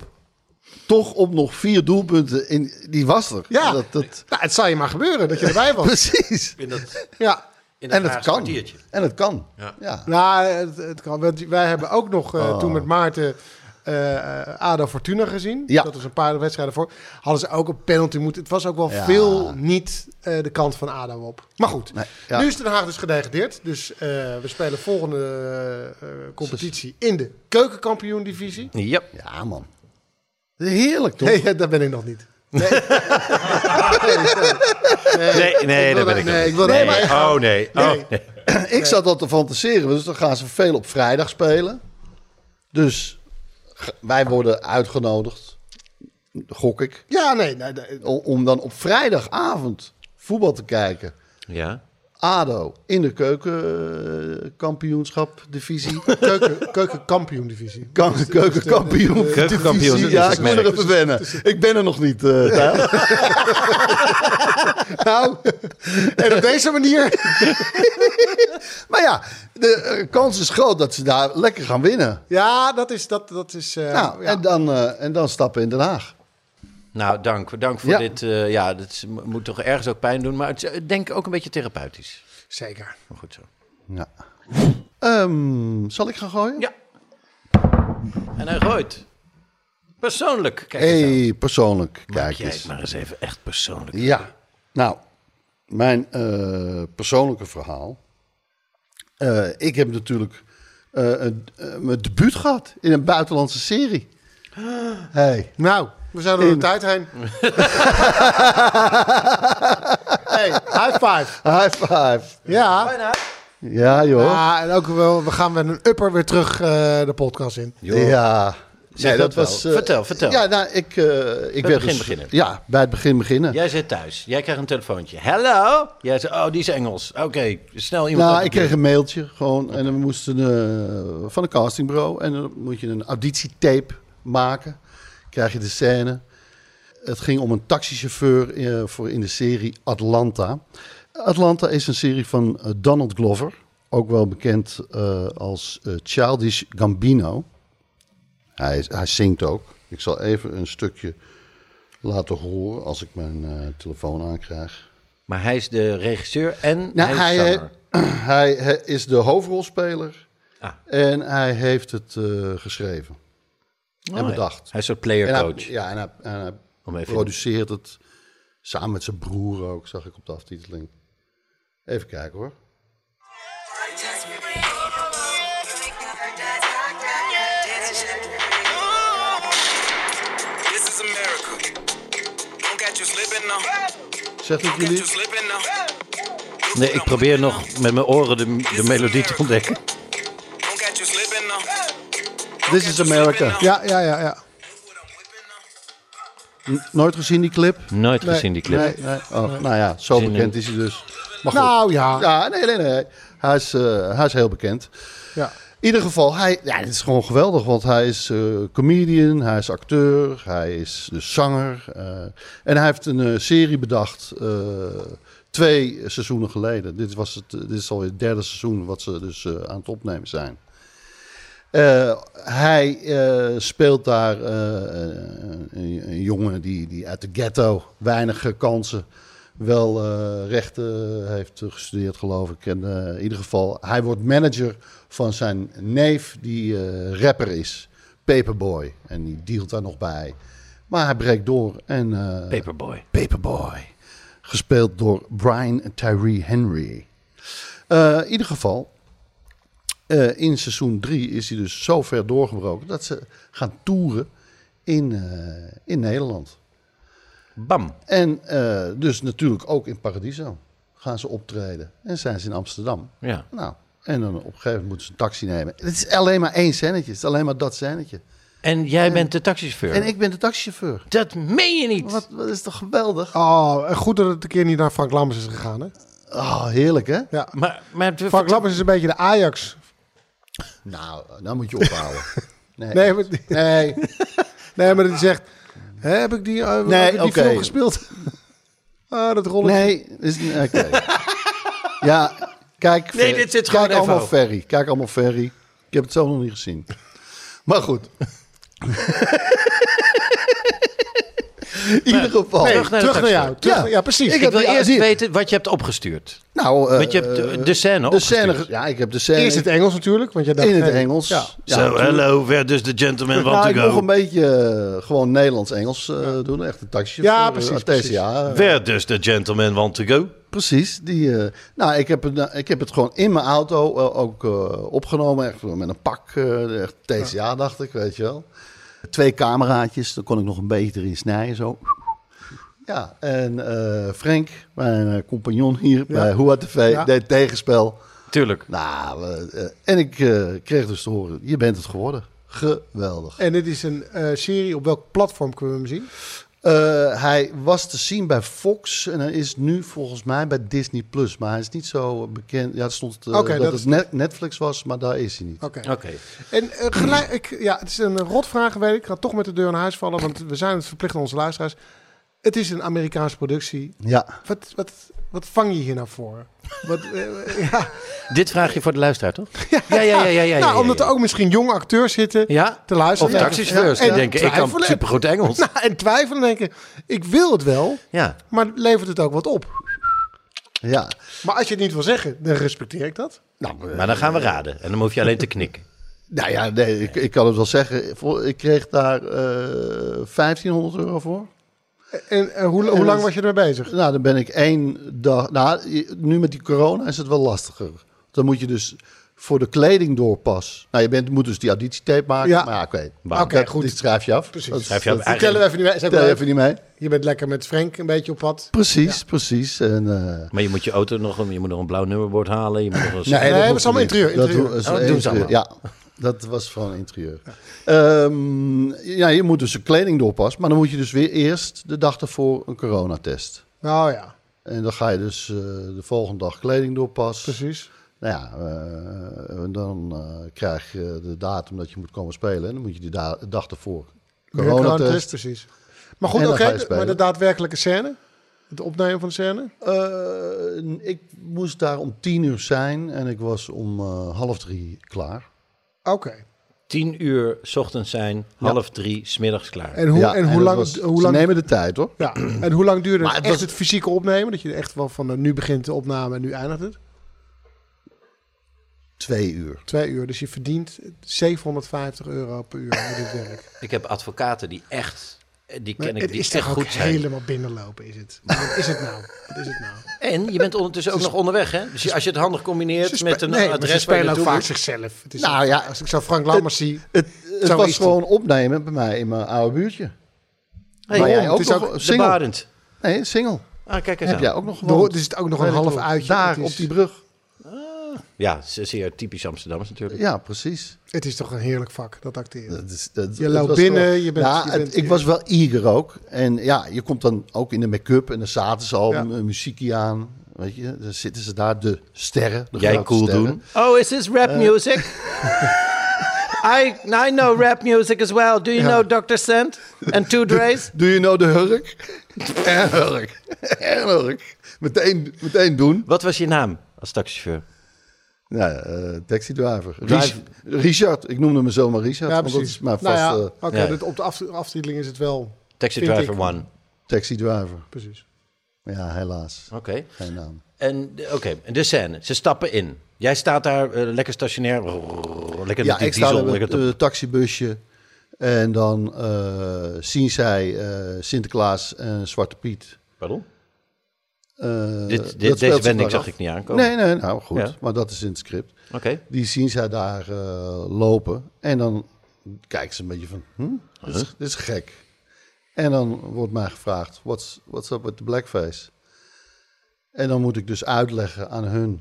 toch op nog vier doelpunten, in, die was er.
ja,
Dat, dat,
<laughs> Nou, het zal je maar gebeuren dat je erbij was.
precies.
In dat,
Ja.
In
En het
Haagse
kan.
kwartiertje.
En het kan.
Ja.
Ja.
Nou, het, het kan. Want Wij hebben ook nog eh,
Oh.
toen met Maarten eh Ado Fortuna gezien.
Ja.
Dat was een paar wedstrijden voor. Hadden ze ook een penalty moeten. Het was ook wel
Ja.
veel niet eh, de kant van Ado op. Maar goed,
Nee, ja.
nu is Den Haag dus gedegradeerd. Dus eh, we spelen volgende eh, eh, competitie in de keukenkampioen-divisie.
Ja.
Ja, man. Heerlijk, toch?
Nee, <laughs> daar ben ik nog niet.
Nee, nee, dat ben ik
nee,
niet.
ik wil-
nee,
nee, maar ik
oh nee. Oh, nee.
Ik zat al te fantaseren, dus dan gaan ze veel op vrijdag spelen. Dus g- wij worden uitgenodigd, gok ik,
Ja, nee. eh, nee, nee.
o- om dan op vrijdagavond voetbal te kijken.
Ja.
ADO in de <laughs> keukenkampioenschap-divisie.
Keuken, keukenkampioen-divisie.
Keukenkampioen.
Keukenkampioen,
divisie.
dat
Ja,
is
ik moet er
merk.
even wennen. Ik ben er nog niet, eh, Tijl.
Nou, en op deze manier.
Maar ja, de eh, kans is groot dat ze daar lekker gaan winnen.
Ja, dat is. Dat, dat is eh,
Nou,
ja.
en, dan, eh, en dan stappen in Den Haag.
Nou, dank. Dank voor
Ja.
dit. eh, ja, dat is- moet toch ergens ook pijn doen. Maar het, is, eh, denk ook een beetje therapeutisch.
Zeker.
Maar goed zo.
Ja. Ehm, zal ik gaan gooien?
Ja. En hij gooit. Persoonlijk. Kijk eens aan.
hey, persoonlijk.
Maak
Kijk
jij het
eens.
maar eens even echt persoonlijk.
Ja. Nou, mijn eh, persoonlijke verhaal. Eh, ik heb natuurlijk eh, een- eh, mijn debuut gehad in een buitenlandse serie. Hey.
Nou, we zijn door de tijd heen. hey, high five.
<laughs> High five.
Ja.
Ja, joh.
Ah, en ook wel, we gaan met een upper weer terug eh, de podcast in.
Ja. Nee,
dat wel.
eh,
Vertel, vertel.
Ja, nou, ik, eh, ik werd
begin
dus-
beginnen.
Ja, bij het begin beginnen.
Jij zit thuis. Jij krijgt een telefoontje. Hello? Jij zegt, oh, die is Engels. Oké, snel iemand. aan
Nou,
de
ik
deur.
kreeg een mailtje gewoon en we moesten eh, van een castingbureau en dan moet je een auditietape maken. Krijg je de scène. Het ging om een taxichauffeur eh, voor in de serie Atlanta. Atlanta is een serie van eh, Donald Glover, ook wel bekend eh, als eh, Childish Gambino. Hij, hij zingt ook. Ik zal even een stukje laten horen als ik mijn eh, telefoon aankrijg.
Maar hij is de regisseur en
Nou,
hij
hij, eh,
is zanger.
<clears throat> hij, hij is de hoofdrolspeler
Ah.
en hij heeft het eh, geschreven
Oh,
en
ja.
bedacht.
Hij is een
En hij-
playercoach.
ja, en hij, en hij
Om even-
produceert het samen met zijn broer ook, zag ik op de aftiteling. Even kijken hoor.
This is America. Don't catch you slipping now. Don't
Zegt het
catch you
jullie?
slipping now.
Nee, ik probeer nog met mijn oren de, de melodie te ontdekken.
Don't catch you slipping now.
This is America.
Ja, ja, ja. ja.
N- Nooit gezien die clip?
Nooit gezien die clip.
Nee, nee. Oh, Nou ja, zo
Zin in.
bekend is hij dus. Maar goed.
Nou ja. ja.
Ja, nee, nee, nee. Hij is, eh, hij is heel bekend. In ieder geval, hij, ja, het is gewoon geweldig, want hij is eh, comedian, hij is acteur, hij is dus zanger. eh, en hij heeft een eh, serie bedacht eh, twee seizoenen geleden. Dit, was het, eh, dit is alweer het derde seizoen wat ze dus eh, aan het opnemen zijn. Eh, hij eh, speelt daar eh, een, een jongen die, die uit de ghetto weinig eh, kansen wel eh, rechten heeft eh, gestudeerd, geloof ik. En, eh, in ieder geval, hij wordt manager van zijn neef die eh, rapper is, Paperboy. En die dealt daar nog bij. Maar hij breekt door en... eh,
Paperboy.
Paperboy. Gespeeld door Brian Tyree Henry. Eh, in ieder geval, eh, in seizoen 3 is hij dus zo ver doorgebroken dat ze gaan toeren in, eh, in Nederland.
Bam.
En eh, dus natuurlijk ook in Paradiso gaan ze optreden. En zijn ze in Amsterdam.
Ja.
Nou, en dan op een gegeven moment moeten ze een taxi nemen. Het is alleen maar één scènetje. Het is alleen maar dat scènetje.
En jij bent de taxichauffeur.
En ik ben de taxichauffeur.
Dat meen je niet.
Wat, wat is toch geweldig?
Oh, en goed dat het een keer niet naar Frank Lammers is gegaan, hè?
Oh, heerlijk hè?
Ja.
Maar, maar
Frank Lammers is een beetje de Ajax.
Nou, nou moet je
<laughs>
ophouden.
Nee, maar, nee. nee, maar die zegt... hè, heb ik die, eh,
Nee,
heb ik die
oké.
film gespeeld? <laughs> ah, dat rolletje.
Nee, is niet- oké.
<laughs>
ja, kijk.
Nee,
Fer-
dit zit
kijk
gewoon even
allemaal
op.
ferry. Kijk allemaal ferry. Ik heb het zo nog niet
<laughs>
gezien. Maar goed. ieder geval.
Nee,
Terug naar de
terug
tekst.
naar jou. Terug,
Ja.
ja. precies.
Ik
Ik
heb
wil
die-
eerst
zie je.
weten wat je hebt opgestuurd.
Nou, eh,
Want je hebt de- de scène
de scène,
opgestuurd.
ge- Ja, ik heb de scène
Eerst het Engels natuurlijk. Want jij dacht,
in het
nee.
Engels.
Ja.
Ja,
so,
natuurlijk.
hello, where does the gentleman want
Nou, ik
to go?
mocht een beetje eh, gewoon Nederlands-Engels eh, doen. Echt een taxi.
Ja, precies,
TCA. eh,
Where does the gentleman want to go?
Precies. Die, eh, nou, ik heb, het, nou, ik heb het gewoon in mijn auto eh, ook eh, opgenomen. Echt met een pak. eh, echt TCA, dacht ik, weet je wel. Twee cameraatjes, daar kon ik nog een beetje erin snijden. Zo. Ja, en eh, Frank, mijn eh, compagnon hier bij Hoa TV,
Ja.
deed tegenspel.
Tuurlijk.
Nou, we- eh, en ik eh, kreeg dus te horen, je bent het geworden. Geweldig.
En dit is een eh, serie. Op welk platform kunnen we hem zien?
Eh, hij was te zien bij Fox en hij is nu volgens mij bij Disney Plus, maar hij is niet zo bekend. Ja, het stond eh,
Oké,
dat,
dat
het
is-
net- Netflix was, maar daar is hij niet.
Oké.
Oké.
En eh, gelijk, ik, ja, het is een rotvraag, weet ik. Ik ga toch met de deur naar huis vallen, want we zijn het verplicht aan onze luisteraars. Het is een Amerikaanse productie.
Ja,
Wat, wat, wat vang je hier nou voor? Wat, eh, <laughs> ja.
Dit vraag je voor de luisteraar,
<laughs>
toch? Ja, ja, ja. ja, ja, ja,
nou,
ja,
omdat
ja.
er ook misschien jonge acteurs zitten
Ja,
te luisteren.
Of
Ja.
taxichauffeurs
Ja,
die
en
denken, ik kan
twijfelen.
supergoed Engels.
<laughs> Nou, en twijfelen denken, ik wil het wel,
Ja.
maar levert het ook wat op?
ja.
Maar als je het niet wil zeggen, dan respecteer ik dat.
Nou, eh,
Maar dan gaan we raden. En dan hoef je alleen te knikken.
nou ja, nee, ik, ik kan het wel zeggen. Vol- Ik kreeg daar eh 1500 euro voor.
En eh, hoe, hoe
En
lang
dat-
was je ermee bezig?
Nou, dan ben ik één dag. Nou, je- nu met die corona is het wel lastiger. Dan moet je dus voor de kleding doorpas. Nou, je bent, moet dus die auditietape maken.
Ja.
Maar ja, oké.
Wauw.
Oké,
Dat-
goed.
Die schrijf je af.
Precies.
Dat-
Schrijf je af.
dat-
Die tellen we even niet mee. Zijn we
Tel je
leuk?
even niet mee.
Je bent lekker met Frank een beetje op pad.
Precies, precies. En, eh,
Maar je moet je auto nog, je moet nog een blauw nummerbord halen. Je moet nog eens-
Nee,
dat
dat
hoeft
is allemaal
niet.
interieur,
Dat
interieur.
ho- is
Oh, dat
een
doen ze
interieur, Ja, dat was gewoon interieur. Ehm, ja, je moet dus de kleding doorpassen. Maar dan moet je dus weer eerst de dag ervoor een coronatest.
Nou ja,
En dan ga je dus eh, de volgende dag kleding doorpassen.
precies.
Nou ja, eh, en dan eh, krijg je de datum dat je moet komen spelen. En dan moet je die da- dag ervoor
Weer een
coronatest.
precies. Maar goed,
En
oké,
dan ga je spelen.
maar de daadwerkelijke scène? Het opnemen van de scène?
Eh, ik moest daar om tien uur zijn en ik was om eh, half drie klaar.
Oké.
Tien uur 's ochtends zijn, half drie, smiddags klaar.
En hoe,
Ja,
en hoe
dat
lang...
was-
hoe
Ze
lang
nemen de tijd hoor.
ja, en hoe lang duurde
Maar
het,
het
echt
was-
het fysieke opnemen? Dat je echt wel van nou, nu begint de opname en nu eindigt het?
Twee uur.
Twee uur, dus je verdient 750 euro per uur met dit
<laughs>
werk.
Ik heb advocaten die echt, eh, die
Maar
ken ik,
het
die
is
echt
toch ook
goed zijn.
helemaal binnenlopen, is het? Wat is het nou? Wat is het nou?
En je bent ondertussen ook nog onderweg, hè? Dus als je het handig combineert
Ze
met
spe-
een
nee, maar ze
adres waar je
spelen ook
naartoe
vaak
moet.
zichzelf. Het is
Nou
ook-
ja,
als ik zou Frank Lammers zie...
Het, het
Zo is
was
het.
gewoon opnemen bij mij in mijn oude buurtje.
Hey,
Maar jij
oh,
ook
het is
nog
ook
een
de
single?
Barend.
Nee, single.
Ah, kijk eens
Heb
aan.
jij ook nog
door-
gewoond?
Er zit ook nog een half uitje.
Daar,
Het is-
op die brug.
Ja, ze- zeer typisch Amsterdams natuurlijk.
Ja, precies.
Het is toch een heerlijk vak, dat acteren.
Dat is- dat-
Je
het
loopt
was
binnen,
gewoon-
je bent-
Nou,
je
het-
bent-
ik was wel eager ook. En ja, je komt dan ook in de make-up en dan zaten ze al
Ja.
een muziekje aan. Weet je, dan zitten ze daar, de sterren. De
Jij
grote
cool
sterren.
doen. Oh, is this rap music? I, I know rap music as well. Do you know Dr. Sand and Two
<laughs>
Dre's?
Doe je nou de hurk? <laughs> en hurk. en hurk. Meteen, meteen doen.
Wat was je naam als taxichauffeur?
Ja, eh taxi driver.
Drive-
Richard, ik noemde me zomaar Richard.
Ja,
want
precies.
dat is mijn
Nou
vaste
ja,
eh,
oké,
ja.
dat op de af- aftiteling is het wel.
Taxi
vind
Driver
ik.
One. Oké.
taxi driver.
Precies.
Ja, helaas. Geen naam.
En de- oké, en de scène. Ze stappen in. Jij staat daar eh, lekker stationair. Brrr, Lekker
Ja,
met die
ik sta
diesel.
met
lekker
het
te-
taxibusje. En dan eh, zien zij eh, Sinterklaas en Zwarte Piet.
Pardon?
Eh,
Dit-
dat
dit-
speelt
deze
zich
wending
daar
zag
af.
ik niet aankomen.
Nee, nee, nou goed.
Ja.
Maar dat is in het script.
Oké.
Die zien zij daar eh, lopen. En dan kijken ze een beetje van, hm? dit, is, dit is gek. En dan wordt mij gevraagd, what's, what's up with the blackface? En dan moet ik dus uitleggen aan hun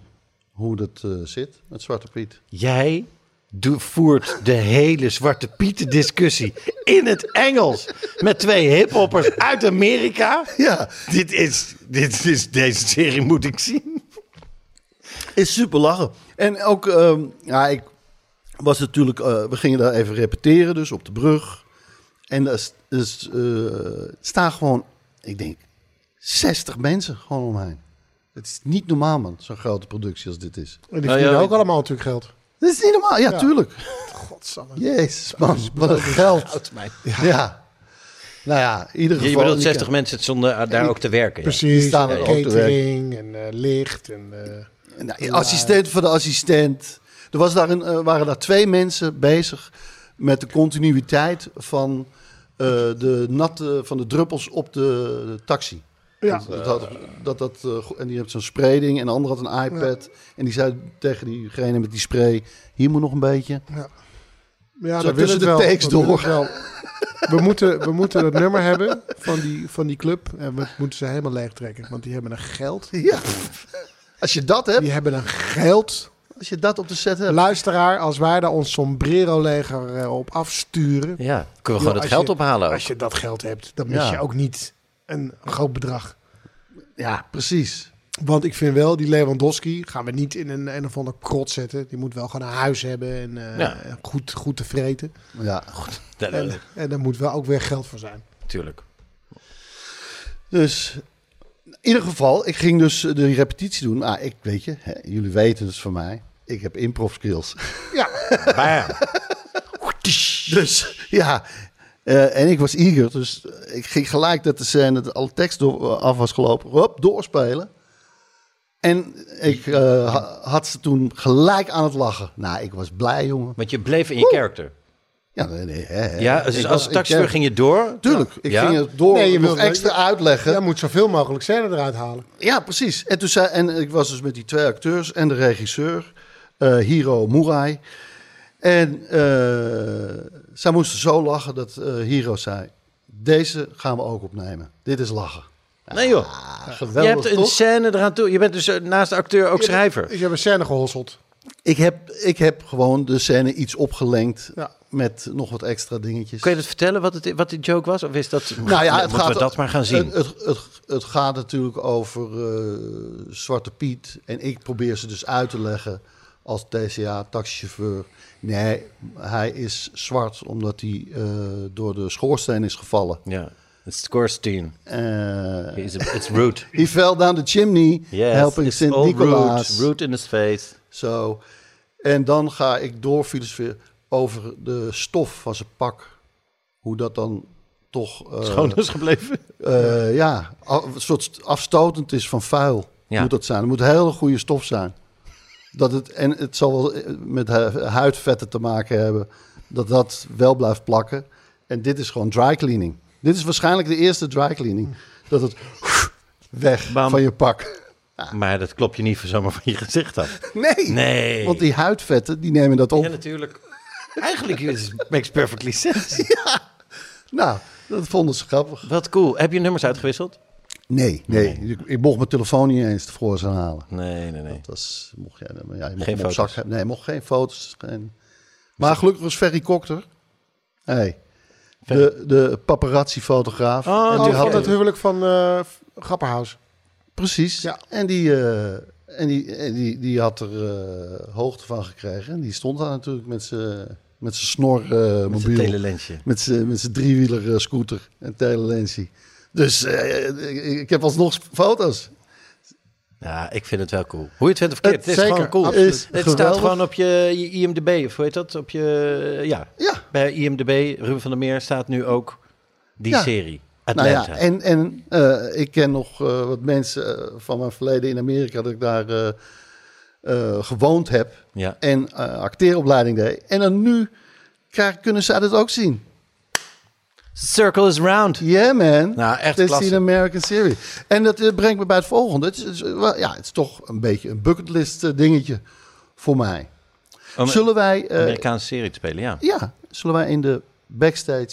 hoe dat eh, zit met Zwarte Piet.
Jij doe- voert de hele Zwarte Pieten discussie in het Engels. Met twee hiphoppers uit Amerika.
Ja.
Dit is, dit is, deze serie moet ik zien.
Is super lachen. En ook, ehm, ja, ik was natuurlijk, eh, we gingen daar even repeteren, dus op de brug. En er s- er s- eh, staan gewoon, ik denk, 60 mensen gewoon omheen. Het is niet normaal, man, zo'n grote productie als dit is.
En die verdienen
ja,
ook
ik-
allemaal natuurlijk geld.
Dit is niet normaal, ja, tuurlijk.
<laughs>
Godsamme.
Jezus, man, wat een geld. Ja. Nou ja, in ieder
Je,
geval...
je bedoelt
die
60 mensen zonder eh, daar ook te werken. ja.
Precies,
staan er
en
ook te
catering en eh, licht. En, eh,
Nou, assistent van de assistent. Er was daar een, eh, waren daar twee mensen bezig met de continuïteit van eh, de natte van de druppels op de, de taxi.
Ja.
Dat, dat, dat, dat, eh, go- en die heeft zo'n sprayding en de ander had een iPad. En die zei tegen diegene met die spray, hier moet nog een beetje.
ja,
Zo
dat
tussen
wil ik
de
wel,
takes
dat wil ik
door.
wel.
<laughs>
We moeten, we moeten het nummer hebben van die, van die club. En we moeten ze helemaal leegtrekken. Want die hebben een geld.
<laughs> Ja. Als je dat hebt,
Die hebben een geld.
als je dat op de set hebt.
Luisteraar, als wij daar ons sombrero-leger eh, op afsturen.
Ja, kunnen we gewoon
Joh,
het
als
geld
je-
ophalen. ook.
Als je dat geld hebt, dan mis
Ja.
je ook niet een groot bedrag.
Ja, precies.
Want ik vind wel, die Lewandowski gaan we niet in een, een of ander krot zetten. Die moet wel gewoon een huis hebben en eh,
Ja.
goed, goed te vreten.
Ja.
Dat-
En, en daar moet wel ook weer geld voor zijn.
Tuurlijk.
Dus in ieder geval, ik ging dus eh, de repetitie doen. Ah, ik weet je, hè, jullie weten het dus van mij. Ik heb improv skills. <laughs>
Ja,
Dus ja, eh, en ik was eager. Dus ik ging gelijk dat de scène, dat alle tekst door, eh, af was gelopen, hop, doorspelen. En ik eh, ha- had ze toen gelijk aan het lachen. Nou, ik was blij, jongen.
Want je bleef in je character.
Ja, nee, nee, hè, hè.
Ja, dus
Ik
als
was-
taxichauffeur
ik-
ging je door.
Tuurlijk, ik
Ja?
ging het door
Nee, je
nog
wilt-
extra uitleggen.
jij moet zoveel mogelijk scène eruit halen.
Ja, precies. En, toen zei, en ik was dus met die twee acteurs en de regisseur, eh, Hiro Murai. En eh, zij moesten zo lachen dat eh, Hiro zei: Deze gaan we ook opnemen. Dit is lachen.
Nee joh.
Ah,
je
geweldig.
hebt een
toch?
scène eraan toe. Je bent dus eh, naast de acteur ook schrijver.
Ik heb Dus een scène gehosseld.
ik, heb, ik heb gewoon de scène iets opgelengd
Ja.
met nog wat extra dingetjes.
Kun je dat vertellen wat, het, wat de joke was? Of is dat.
Nou ja, het
moeten
gaat,
we dat maar gaan zien?
Het, het, het, het gaat natuurlijk over eh, Zwarte Piet. En ik probeer ze dus uit te leggen als TCA-taxichauffeur. Nee, hij is zwart omdat hij eh, door de schoorsteen is gevallen.
ja. Het scores team.
Eh,
It's, it's rude.
he fell down the chimney,
Yes,
helping Oh.
it's all
Sint-Nicolaas.
Rude. Rude in his face.
Zo. En dan ga ik door filosoferen over de stof van zijn pak. Hoe dat dan toch... eh,
Schoon is dus gebleven.
eh, ja, a- een soort afstotend is van vuil.
Ja.
Moet dat zijn. Het moet een hele goede stof zijn. Dat het, en het zal wel eh, met hu- huidvetten te maken hebben. Dat dat wel blijft plakken. En dit is gewoon dry cleaning. Dit is waarschijnlijk de eerste dry cleaning. Dat het <laughs> weg
Bam.
van je pak.
Maar dat klopt je niet voor zomaar van je gezicht af.
Nee.
Nee.
Want die huidvetten, die nemen dat op. <laughs>
Ja, natuurlijk. Eigenlijk is it makes perfectly sense.
Nou, dat vonden ze grappig.
<laughs> Wat cool. Heb je nummers uitgewisseld?
Nee, nee. Ik, ik mocht mijn telefoon niet eens tevoorschijn halen.
Nee, nee, nee.
Dat was, mocht jij, maar ja, je
Geen
mocht geen hem op
foto's.
zak hebben. Nee, mocht geen foto's. geen- Maar gelukkig was Ferry Kokter. Hey, de, de paparazzi-fotograaf.
Oh,
En
Oh,
die
van
had,
het huwelijk van eh, Grapperhaus.
precies.
Ja.
En, die, eh, en, die, en die, die had er eh, hoogte van gekregen. En die stond daar natuurlijk met zijn met zijn snor eh,
Met zijn
mobiel.
telelensje.
Met zijn met zijn driewieler eh, scooter en telelensie. Dus eh, ik, ik heb alsnog foto's.
Ja, ik vind het wel cool. Hoe je het vindt of verkeerd, het, is
zeker,
gewoon cool.
absoluut.
Is
het staat
geweldig.
gewoon op je je IMDb, of hoe heet dat? Op je, ja.
Ja.
Bij IMDb, Ruben van der Meer, staat nu ook die
Ja.
serie.
Nou
Atlanta.
ja, en, en eh, ik ken nog eh, wat mensen eh, van mijn verleden in Amerika dat ik daar eh, eh, gewoond heb
Ja.
en eh, acteeropleiding deed. En dan nu krijg- kunnen zij dat ook zien.
Circle is round.
Yeah man,
Nou, echt
This
klasse.
is an American series. En dat eh, brengt me bij het volgende. Het is, het is wel- ja, het is toch een beetje een bucketlist eh, dingetje voor mij.
Om een
Zullen wij, eh,
Amerikaanse serie te spelen, ja.
ja, zullen wij in de backstage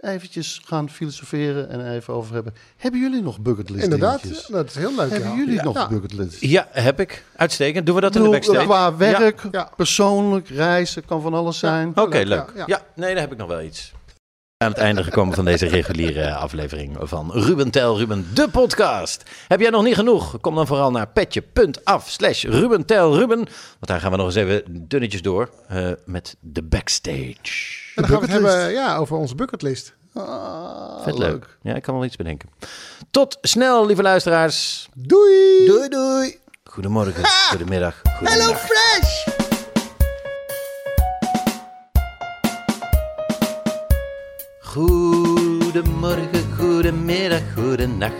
eventjes gaan filosoferen en even over hebben. Hebben jullie nog bucketlist
Inderdaad,
dingetjes?
dat is heel leuk.
Hebben
ja.
jullie
Ja. Nou,
nog
Ja.
bucketlist?
Ja, heb ik. Uitstekend. Doen we dat in
Bedoel,
de backstage?
Qua werk,
Ja.
persoonlijk, reizen, kan van alles zijn.
Oké, leuk. Ja,
Ja, ja.
nee, daar heb ik nog wel iets. Aan het einde gekomen van deze reguliere aflevering van Ruben Tel Ruben, de podcast. Heb jij nog niet genoeg? Kom dan vooral naar petje.af slash Ruben Tel Ruben. Want daar gaan we nog eens even dunnetjes door eh, met de backstage.
En dan gaan we het hebben ja, over onze bucketlist.
Ah,
Vet leuk. Ja, ik kan wel iets bedenken. Tot snel, lieve luisteraars.
Doei!
Doei doei.
Goedemorgen, goedemiddag, goedemiddag.
Hello Fresh.
Goedemiddag. Goedemorgen, goedemiddag, goedenacht.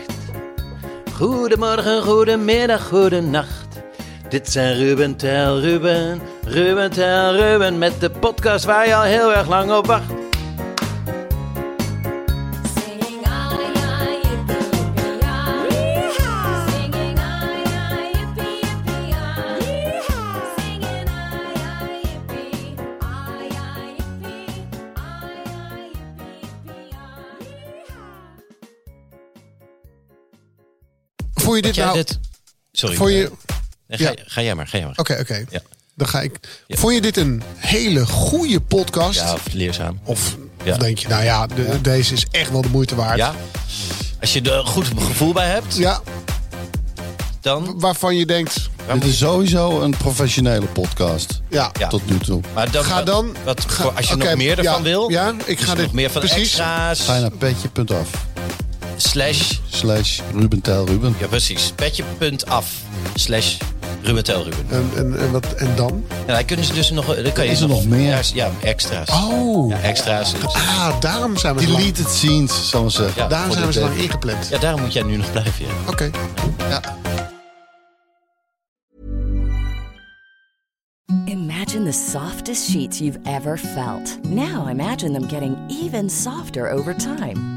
Goedemorgen, goedemiddag, goedenacht. Dit zijn Ruben Tel Ruben, Ruben Tel Ruben met de podcast waar je al heel erg lang op wacht.
Voel je dit
jij
nou...
dit- Sorry.
Voor je... Oké,
Nee, ga,
ja.
ga jij maar, ga jij maar.
oké.
Ja.
Dan ga ik... Vond je dit een hele goede podcast?
Ja, of leerzaam.
Of,
Ja.
of denk je, nou ja, de- deze is echt wel de moeite waard.
Ja. Als je er goed gevoel bij hebt,
Ja,
dan...
waarvan je denkt,
Dit is sowieso een professionele podcast.
ja,
Ja.
Tot nu toe.
Maar dan,
ga dan...
Wat,
ga-
voor- als je
oké,
nog meer ervan
ja,
wil,
Ja, ik
dus
ga dit...
nog meer van
precies,
extra's,
Ga je naar petje.af
slash,
slash Ruben Tijl Ruben.
ja precies, petje.af slash Ruben Tel Ruben.
En, en, en, wat, en dan?
En daar kunnen ze dus nog, dan kan je
Is er nog meer?
Ja, Ja, extra's.
Oh.
Ja, extra's.
Ah, daarom zijn we zo lang-
Deleted scenes, zal ik maar zeggen.
Ja.
Daarom
voor
zijn we
dit
zo lang
leven.
ingepland.
Ja, daarom moet jij nu nog blijven. Ja.
Oké.
Imagine the softest sheets you've ever felt. Now imagine them getting even softer over time.